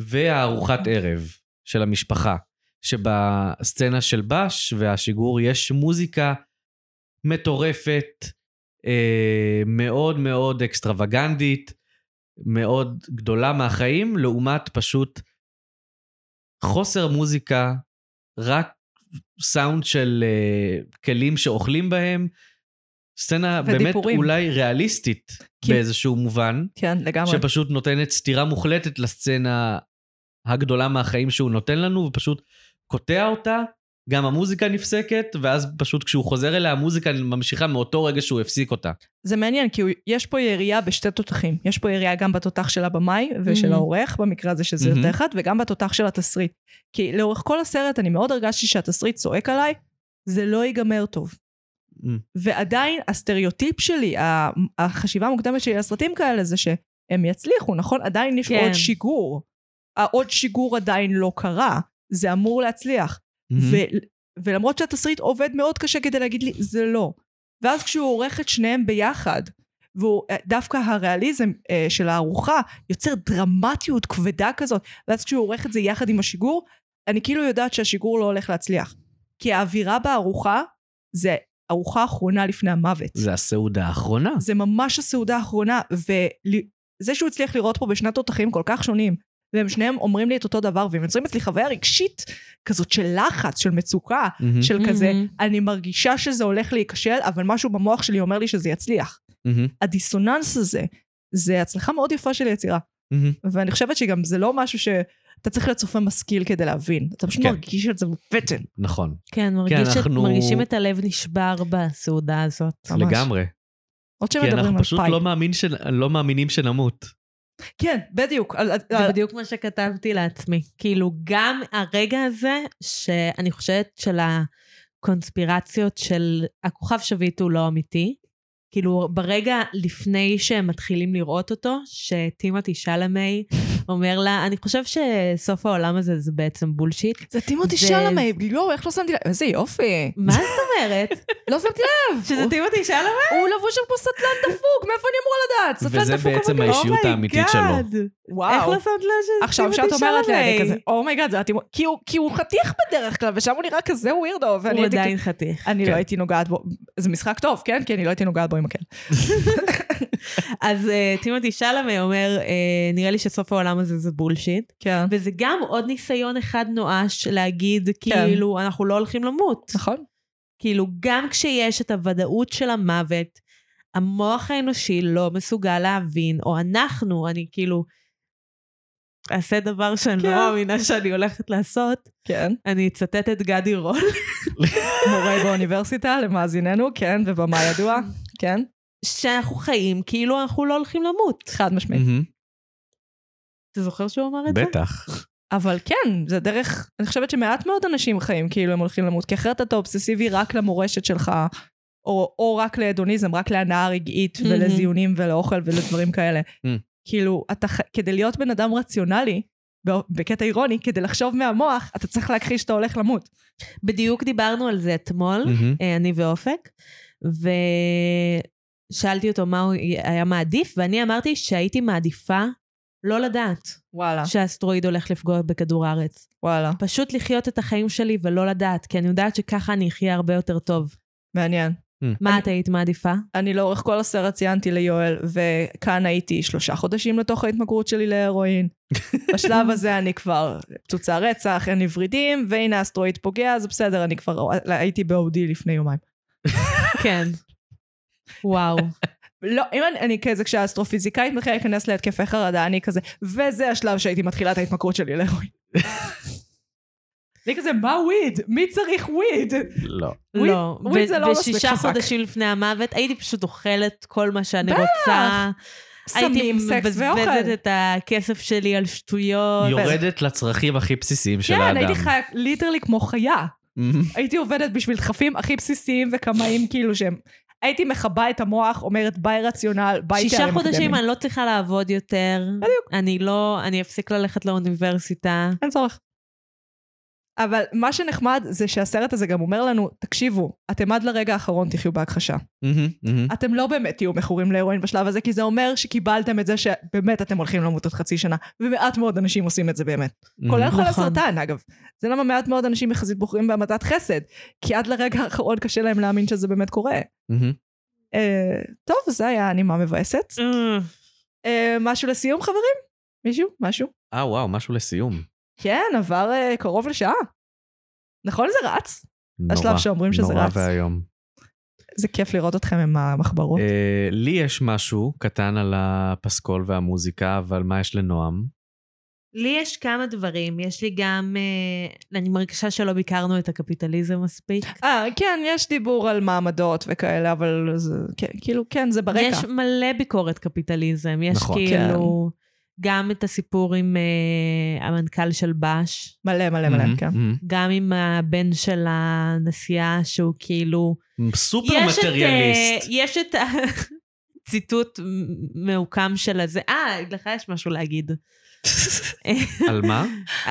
B: והארוחת ערב של המשפחה, שבסצנה של בש והשיגור יש מוזיקה מטורפת, אה, מאוד מאוד אקסטרווגנדית, מאוד גדולה מהחיים, לעומת פשוט חוסר מוזיקה, רק סאונד של אה, כלים שאוכלים בהם, סצנה באמת
A: ודיבורים.
B: אולי ריאליסטית
A: כי-
B: באיזשהו מובן.
A: כן, לגמרי.
B: שפשוט נותנת סתירה מוחלטת לסצנה הגדולה מהחיים שהוא נותן לנו, ופשוט קוטע אותה, גם המוזיקה נפסקת, ואז פשוט כשהוא חוזר אליה, המוזיקה ממשיכה מאותו רגע שהוא הפסיק אותה.
A: זה מעניין, כי הוא- יש פה יריעה בשתי תותחים. יש פה יריעה גם בתותח של הבמאי ושל
C: Mhm.
A: העורך, במקרה הזה שזה
B: Mhm.
A: יותר אחד, וגם בתותח של התסריט. כי לאורך כל הסרט אני מאוד הרגשתי שהתסריט צועק עליי, זה לא ייגמר טוב. ועדיין הסטריאוטיפ שלי, ה- החשיבה המוקדמת שלי על סרטים כאלה זה שהם יצליחו, נכון? עדיין יש
C: כן.
A: עוד שיגור. העוד שיגור עדיין לא קרה, זה אמור להצליח. ו- ולמרות שהתסריט עובד מאוד קשה כדי להגיד לי, זה לא. ואז כשהוא עורך את שניהם ביחד, והוא אה, דווקא הריאליזם אה, של הארוחה יוצר דרמטיות כבדה כזאת, ואז כשהוא עורך את זה יחד עם השיגור, אני כאילו יודעת שהשיגור לא הולך להצליח. כי האווירה בארוחה זה ארוחה אחרונה לפני המוות.
B: זה הסעודה האחרונה.
A: זה ממש הסעודה האחרונה, וזה שהוא הצליח לראות פה בשני תותחים כל כך שונים, והם שניהם אומרים לי את אותו דבר, והם יוצרים אצלי חוויה רגשית כזאת של לחץ, של מצוקה,
B: מהמם,
A: של כזה,
C: מהמם.
A: אני מרגישה שזה הולך להיכשל, אבל משהו במוח שלי אומר לי שזה יצליח.
B: מהמם,
A: הדיסוננס הזה, זה הצלחה מאוד יפה של יצירה.
B: מהמם.
A: ואני חושבת שגם זה לא משהו שאתה צריך להיות צופה משכיל כדי להבין. אתה פשוט
B: כן.
A: מרגיש את זה בבטן.
B: נכון,
C: כן, מרגיש את-
B: אנחנו-
C: מרגישים את הלב נשבר בסעודה הזאת.
A: ממש.
B: לגמרי.
A: עוד
B: כי
A: שמדברים
B: אנחנו
A: על
B: פשוט
A: פייפ.
B: לא מאמין שנ- לא מאמינים שנמות.
A: כן, בדיוק. על- על-
C: זה
A: על-
C: בדיוק מה שכתבתי לעצמי. כאילו, גם הרגע הזה, שאני חושבת של הקונספירציות של הכוכב שביט הוא לא אמיתי. כאילו, ברגע לפני שהם מתחילים לראות אותו, שטימותי שלמי אומר לה, אני חושב שסוף העולם הזה זה בעצם בולשיט.
A: זה טימותי
C: זה-
A: שלמי, יואו, איך לא שמתי לב? איזה יופי.
C: מה זאת אומרת?
A: לא שמתי לב.
C: שזה טימותי שלמי?
A: הוא לבוש שם כמו סטלן דפוק, מאיפה אני אמורה לדעת?
B: וזה
A: סטלן דפוק.
B: בעצם
A: אבל-
B: האישיות
C: Oh my
B: האמיתית
C: God.
B: שלו.
C: איך
A: וואו.
C: לא שמת לב שזה
A: עכשיו
C: טימותי
A: שאת אומרת לי, אני
C: שלמי?
A: כזה, אומייגאד, זה הטימותי, כי הוא- כי הוא חתיך בדרך כלל, ושם הוא נראה כזה ווירדו, ואני
C: הוא
A: הייתי
C: עדיין חתיך.
A: אני
B: כן.
A: לא הייתי נוגעת בו, זה משחק טוב, כן? כי אני לא הייתי נוגעת בו עם מקל.
C: אז אה, טימותי שלמה אומר, אה, נראה לי שסוף העולם הזה זה בולשיט.
A: כן.
C: וזה גם עוד ניסיון אחד נואש להגיד, כאילו, אנחנו לא הולכים למות.
A: נכון.
C: כאילו, גם כשיש את הוודאות של המוות, המוח האנושי לא מסוגל להבין, או אנחנו, אני כאילו, אעשה דבר שאני
A: כן.
C: לא מאמינה שאני הולכת לעשות,
A: כן.
C: אני אצטט את גדי רול,
A: מורה באוניברסיטה, למאזיננו, כן, ובמה ידוע, כן.
C: שאנחנו חיים כאילו אנחנו לא הולכים למות.
A: חד משמעית.
B: מהמם.
C: אתה זוכר שהוא אמר את זה?
B: בטח.
A: אבל כן, זה דרך, אני חושבת שמעט מאוד אנשים חיים כאילו הם הולכים למות, כי אחרת אתה אובססיבי רק למורשת שלך, או, או רק להדוניזם, רק להנאה רגעית
C: מהמם.
A: ולזיונים ולאוכל ולדברים כאלה.
B: Mm.
A: כאילו, אתה, ח- כדי להיות בן אדם רציונלי, בא- בקטע אירוני, כדי לחשוב מהמוח, אתה צריך להכחיש שאתה הולך למות.
C: בדיוק דיברנו על זה אתמול.
A: Mm-hmm.
B: מהמם.
C: אה, אני ואופק, ושאלתי אותו מה הוא היה מעדיף, ואני אמרתי שהייתי מעדיפה לא לדעת
A: וואלה.
C: שהאסטרואיד הולך לפגוע בכדור הארץ.
A: וואלה.
C: פשוט לחיות את החיים שלי ולא לדעת, כי אני יודעת שככה אני אחיה הרבה יותר טוב.
A: מעניין.
C: מה את היית מעדיפה?
A: אני לאורך כל הסרט ציינתי ליואל, וכאן הייתי שלושה חודשים לתוך ההתמכרות שלי להרואין. בשלב הזה אני כבר פצוצה רצח, אין לי ורידים, והנה האסטרואיד פוגע, אז בסדר, אני כבר הייתי באודי לפני יומיים.
C: כן. וואו.
A: לא, אם אני, אני כזה, כשהאסטרופיזיקאית מתחילה להיכנס להתקפי חרדה, אני כזה, וזה השלב שהייתי מתחילה את ההתמכרות שלי להרואין. אני כזה, מה וויד? מי צריך וויד?
B: לא.
A: וויד-
C: לא.
A: וויד זה
C: ב-
A: לא מספיק
C: בשישה
A: חזק.
C: חודשים לפני המוות הייתי פשוט אוכלת כל מה שאני
A: בטח.
C: רוצה. הייתי
A: סמים, סקס ואוכל.
C: מבזבזת את הכסף שלי על שטויות.
B: יורדת לצרכים הכי בסיסיים של האדם.
A: כן, הייתי חיה ליטרלי כמו חיה.
B: מהמם.
A: הייתי עובדת בשביל דחפים הכי בסיסיים וקמאים כאילו שהם... הייתי מכבה את המוח, אומרת ביי רציונל, ביי תארים
C: שישה חודשים
A: אקדמיים.
C: אני לא צריכה לעבוד יותר. בדיוק. אני לא, אני אפסיק ללכת לאוניברסיטה.
A: אין צורך. אבל מה שנחמד זה שהסרט הזה גם אומר לנו, תקשיבו, אתם עד לרגע האחרון תחיו בהכחשה.
B: מהמם, מהמם.
A: אתם לא באמת תהיו מכורים להירואין בשלב הזה, כי זה אומר שקיבלתם את זה שבאמת אתם הולכים למות עוד חצי שנה, ומעט מאוד אנשים עושים את זה באמת.
B: Mhm.
A: כולל חולי
C: נכון.
A: סרטן, אגב. זה למה מעט מאוד אנשים יחסית בוחרים בהמתת חסד, כי עד לרגע האחרון קשה להם להאמין שזה באמת קורה.
B: מהמם.
A: אה, טוב, זה היה נימה מבאסת.
C: Mm.
A: אה, משהו לסיום, חברים? מישהו? משהו?
B: אה, וואו, משהו לסיום.
A: כן, עבר אה, קרוב לשעה. נכון זה רץ?
B: נורא,
A: השלב שאומרים שזה
B: נורא
A: רץ.
B: ואיום.
A: זה כיף לראות אתכם עם המחברות.
B: אה, לי יש משהו קטן על הפסקול והמוזיקה, אבל מה יש לנועם?
C: לי יש כמה דברים. יש לי גם, אה, אני מרגישה שלא ביקרנו את הקפיטליזם מספיק.
A: אה, כן, יש דיבור על מעמדות וכאלה, אבל זה, כן, כאילו, כן, זה ברקע.
C: יש מלא ביקורת קפיטליזם. יש
B: נכון.
C: כאילו גם את הסיפור עם אה, המנכ"ל של בש,
A: מלא מלא מלא,
B: מהמם,
A: כן.
B: מהמם.
C: גם עם הבן של הנשיאה, שהוא כאילו...
B: סופר
C: יש את, אה,
B: מטריאליסט.
C: יש את הציטוט מעוקם של הזה. אה, לך יש משהו להגיד. אה,
B: על מה?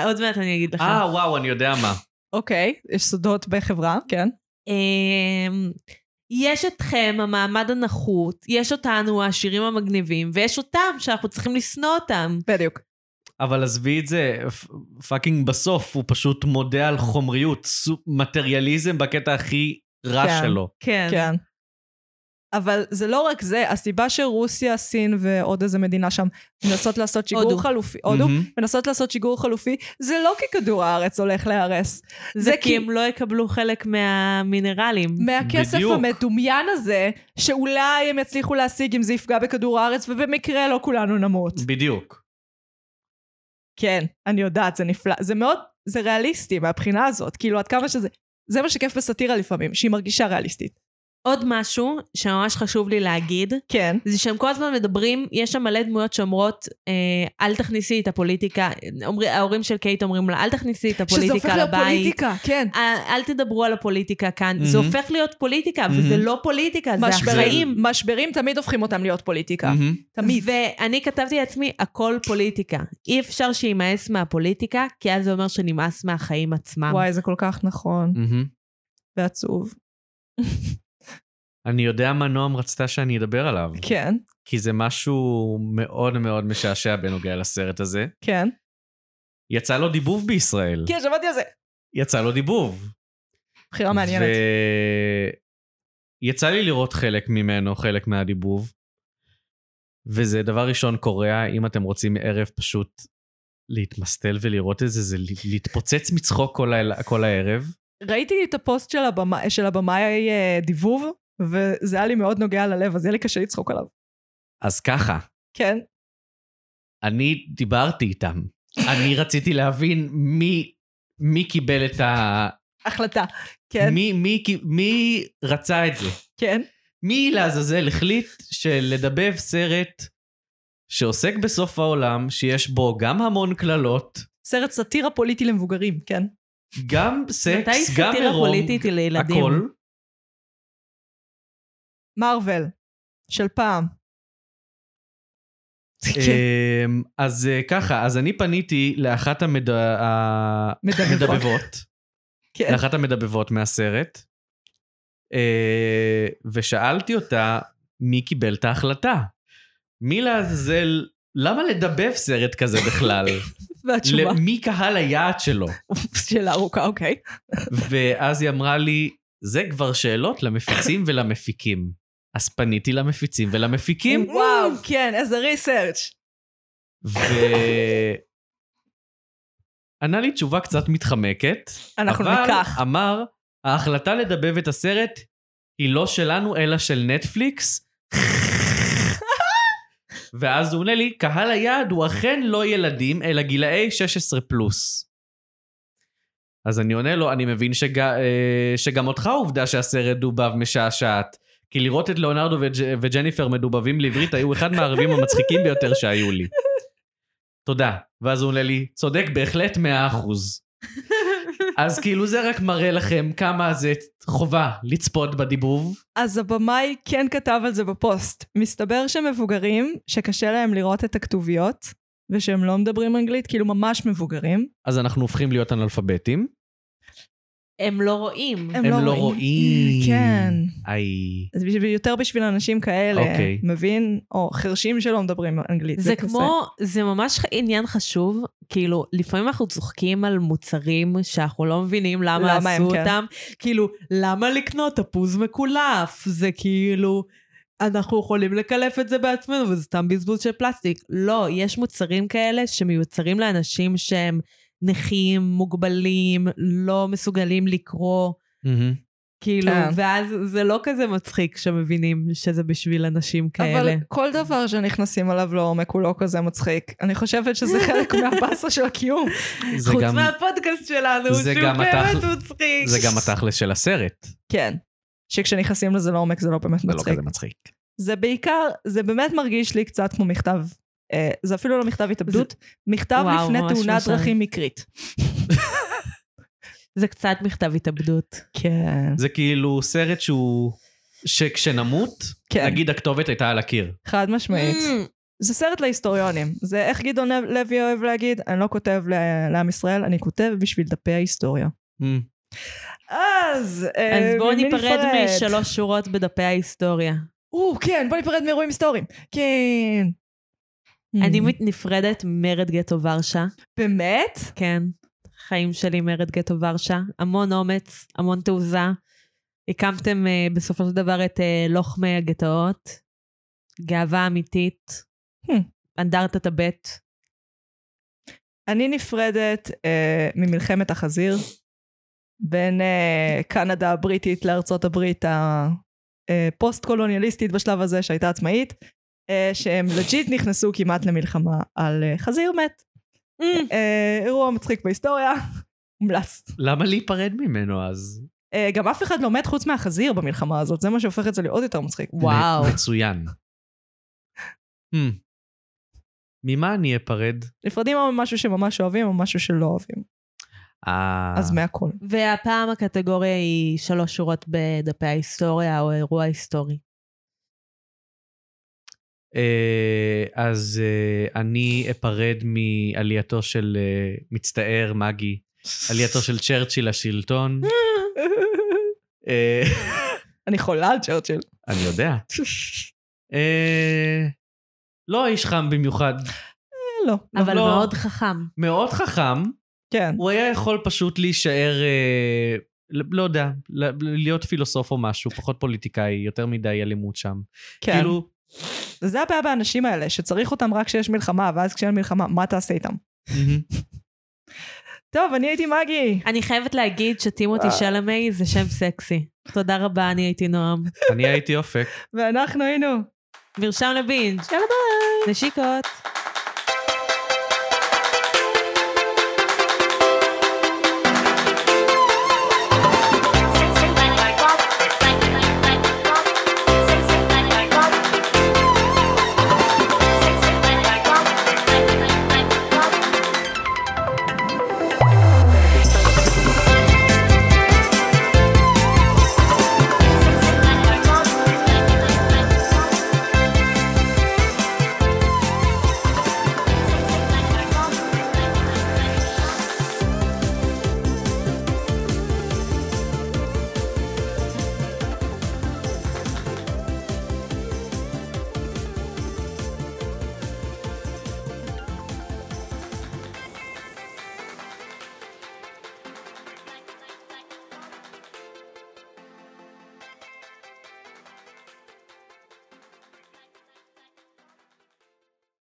C: עוד מעט אני אגיד לך.
B: אה, וואו, אני יודע מה.
A: אוקיי, יש סודות בחברה, כן.
C: אמ, יש אתכם, המעמד הנחות, יש אותנו, העשירים המגניבים, ויש אותם שאנחנו צריכים לשנוא אותם.
A: בדיוק.
B: אבל עזבי את זה, פ- פאקינג בסוף הוא פשוט מודה על חומריות, סו- מטריאליזם בקטע הכי רע
A: כן.
B: שלו.
C: כן.
A: כן. אבל זה לא רק זה, הסיבה שרוסיה, סין ועוד איזה מדינה שם מנסות לעשות שיגור
C: הודו.
A: חלופי, הודו,
B: מהמם.
A: מנסות לעשות שיגור חלופי, זה לא כי כדור הארץ הולך להיהרס.
C: זה כי הם לא יקבלו חלק מהמינרלים.
A: מהכסף
B: בדיוק.
A: המדומיין הזה, שאולי הם יצליחו להשיג אם זה יפגע בכדור הארץ, ובמקרה לא כולנו נמות.
B: בדיוק.
A: כן, אני יודעת, זה נפלא. זה מאוד, זה ריאליסטי מהבחינה הזאת, כאילו עד כמה שזה... זה מה שכיף בסאטירה לפעמים, שהיא מרגישה ריאליסטית.
C: עוד משהו שממש חשוב לי להגיד,
A: כן.
C: זה שהם כל הזמן מדברים, יש שם מלא דמויות שאומרות, אה, אל תכניסי את הפוליטיקה, אומרי, ההורים של קייט אומרים לה, אל תכניסי את
A: שזה הופך
C: הפוליטיקה
A: להיות
C: לבית.
A: פוליטיקה, כן.
C: אל אל תדברו על הפוליטיקה כאן, זה
B: מהמם.
C: הופך להיות פוליטיקה, וזה
B: מהמם.
C: לא פוליטיקה, זה החיים.
A: משברים, משברים תמיד הופכים אותם להיות פוליטיקה.
B: מהמם.
A: תמיד.
C: ואני כתבתי לעצמי, הכל פוליטיקה. אי אפשר שיימאס מהפוליטיקה, כי אז זה אומר שנמאס מהחיים עצמם.
A: וואי, זה כל כך נכון
B: מהמם.
A: ועצוב.
B: אני יודע מה נועם רצתה שאני אדבר עליו,
A: כן,
B: כי זה משהו מאוד מאוד משעשע בנוגע לסרט הזה.
A: כן.
B: יצא לו דיבוב בישראל.
A: כן, שמעתי על זה.
B: יצא לו דיבוב.
A: בחירה מעניינת.
B: ויצא לי לראות חלק ממנו, חלק מהדיבוב. וזה דבר ראשון קוריאה, אם אתם רוצים ערב פשוט להתמסטל ולראות את זה, זה ל- להתפוצץ מצחוק כל, ה... כל הערב.
A: ראיתי את הפוסט של הבמאי- של הבמאי אה, דיבוב, וזה היה לי מאוד נוגע ללב, אז יהיה לי קשה לצחוק עליו.
B: אז ככה,
A: כן.
B: אני דיברתי איתם. אני רציתי להבין מי, מי קיבל את ה...
A: החלטה. כן,
B: מי, מי, כי- מי רצה את זה?
A: כן.
B: מי לעזאזל החליט שלדבב סרט שעוסק בסוף העולם, שיש בו גם המון קללות,
A: סרט סאטירה פוליטי למבוגרים, כן.
B: גם
C: מתי
B: סקס, גם
C: סאטירה
B: עירום,
C: פוליטית היא לילדים?
B: הכל.
A: מארוול, של פעם. כן.
B: אמ, אז אה, ככה, אז אני פניתי לאחת המד- ה-
C: נכון.
A: מדבבות.
B: המדבבות,
A: כן.
B: לאחת המדבבות מהסרט, אה, ושאלתי אותה מי קיבל את ההחלטה. מי לעזאזל, למה לדבב סרט כזה בכלל? נכון.
A: והתשובה
B: למי קהל היעד שלו?
A: שאלה ארוכה, אוקיי.
B: ואז היא אמרה לי, זה כבר שאלות למפיצים ולמפיקים. אז פניתי למפיצים ולמפיקים,
A: וואו, כן, איזה ריסרצ'.
B: ו... ענה לי תשובה קצת מתחמקת.
A: אנחנו
B: אבל
A: ניקח.
B: אמר, ההחלטה לדבב את הסרט היא לא שלנו, אלא של נטפליקס. ואז הוא עונה לי, קהל היעד הוא אכן לא ילדים, אלא גילאי 16 פלוס. אז אני עונה לו, אני מבין שג... אה, שגם אותך עובדה שהסרט דובב משעשעת. כי לראות את ליאונרדו וג'... וג'ניפר מדובבים לעברית היו אחד מהערבים המצחיקים ביותר שהיו לי. תודה. ואז הוא עונה לי, צודק בהחלט 100%. אז כאילו זה רק מראה לכם כמה זה חובה לצפות בדיבוב.
A: אז הבמאי כן כתב על זה בפוסט. מסתבר שמבוגרים, שקשה להם לראות את הכתוביות, ושהם לא מדברים אנגלית, כאילו ממש מבוגרים,
B: אז אנחנו הופכים להיות אנאלפביתים.
C: הם לא רואים.
A: הם,
B: הם
A: לא,
B: לא רואים.
A: כן.
B: איי.
A: אז בשביל, יותר בשביל אנשים כאלה,
B: אוקיי.
A: מבין? או חירשים שלא מדברים אנגלית.
C: זה
A: כזה.
C: כמו, זה ממש ח- עניין חשוב, כאילו, לפעמים אנחנו צוחקים על מוצרים שאנחנו לא מבינים למה,
A: למה הם
C: עשו
A: כן.
C: אותם, כאילו, למה לקנות תפוז מקולף? זה כאילו, אנחנו יכולים לקלף את זה בעצמנו, וזה סתם בזבוז של פלסטיק. לא, יש מוצרים כאלה שמיוצרים לאנשים שהם נכים, מוגבלים, לא מסוגלים לקרוא. כאילו,
A: כן.
C: ואז זה לא כזה מצחיק שמבינים שזה בשביל אנשים כאלה.
A: אבל כל דבר שנכנסים אליו לעומק הוא לא כזה מצחיק. אני חושבת שזה חלק מהבאסה של הקיום.
B: זה
C: חוץ
B: גם-
C: מהפודקאסט שלנו,
B: זה
C: שהוא
B: גם
C: באמת
B: התכל-
C: מצחיק.
B: זה גם התכלס של הסרט.
A: כן. שכשנכנסים לזה לעומק זה לא באמת
B: זה לא
A: מצחיק.
B: כזה מצחיק.
A: זה בעיקר, זה באמת מרגיש לי קצת כמו מכתב, אה, זה אפילו לא מכתב התאבדות, מכתב
C: וואו,
A: לפני
C: ממש
A: תאונת
C: משעמם.
A: דרכים מקרית.
C: זה קצת מכתב התאבדות.
A: כן.
B: זה כאילו סרט שהוא... שכשנמות,
A: כן.
B: נגיד הכתובת הייתה על הקיר.
A: חד משמעית.
C: Mm.
A: זה סרט להיסטוריונים. זה איך גדעון לוי אוהב להגיד, אני לא כותב ל- לעם ישראל, אני כותב בשביל דפי ההיסטוריה. אז, אה,
C: אז בואו
A: ממי
C: ניפרד
A: נפרד?
C: משלוש שורות בדפי ההיסטוריה.
A: או, כן, בואו ניפרד מאירועים היסטוריים. כן.
C: אני
A: Hmm.
C: מת- נפרדת מרד גטו ורשה.
A: באמת?
C: כן, חיים שלי מרד גטו ורשה. המון אומץ, המון תעוזה. הקמתם אה, בסופו של דבר את אה, לוחמי הגטאות. גאווה אמיתית.
A: Hmm.
C: אנדרטת הבט.
A: אני נפרדת אה, ממלחמת החזיר בין אה, קנדה הבריטית לארצות הברית הפוסט-קולוניאליסטית בשלב הזה שהייתה עצמאית, אה, שהם לג'יט נכנסו כמעט למלחמה על אה, חזיר מת.
C: Hmm.
B: Mm.
A: אה, אירוע מצחיק בהיסטוריה, מומלץ.
B: למה להיפרד ממנו אז?
A: אה, גם אף אחד לא מת חוץ מהחזיר במלחמה הזאת, זה מה שהופך את זה לעוד יותר מצחיק.
C: וואו.
B: מצוין. Hmm. ממה אני אפרד?
A: נפרדים או ממשהו שממש אוהבים או משהו שלא אוהבים.
B: אה,
A: אז מהכל.
C: והפעם הקטגוריה היא שלוש שורות בדפי ההיסטוריה או אירוע היסטורי.
B: אה, אז אה, אני אפרד מעלייתו של אה, מצטער מגי, עלייתו של צ'רצ'יל לשלטון. אה,
A: אני חולה על צ'רצ'יל.
B: אני יודע. אה, לא איש חם במיוחד,
A: אה, לא.
C: אבל
B: לא.
C: מאוד חכם.
B: מאוד חכם.
A: כן.
B: הוא היה יכול פשוט להישאר, אה, לא יודע, ל- להיות פילוסוף או משהו, פחות פוליטיקאי, יותר מדי אלימות שם.
A: כן.
B: כאילו,
A: וזה הבעיה באנשים האלה, שצריך אותם רק כשיש מלחמה, ואז כשאין מלחמה, מה תעשה איתם?
B: מהמם.
A: טוב, אני הייתי מגי.
C: אני חייבת להגיד שטימותי שלמי זה שם סקסי. תודה רבה, אני הייתי נועם.
B: אני הייתי אופק.
A: ואנחנו היינו.
C: מרשם לבינג'. יאללה ביי. נשיקות.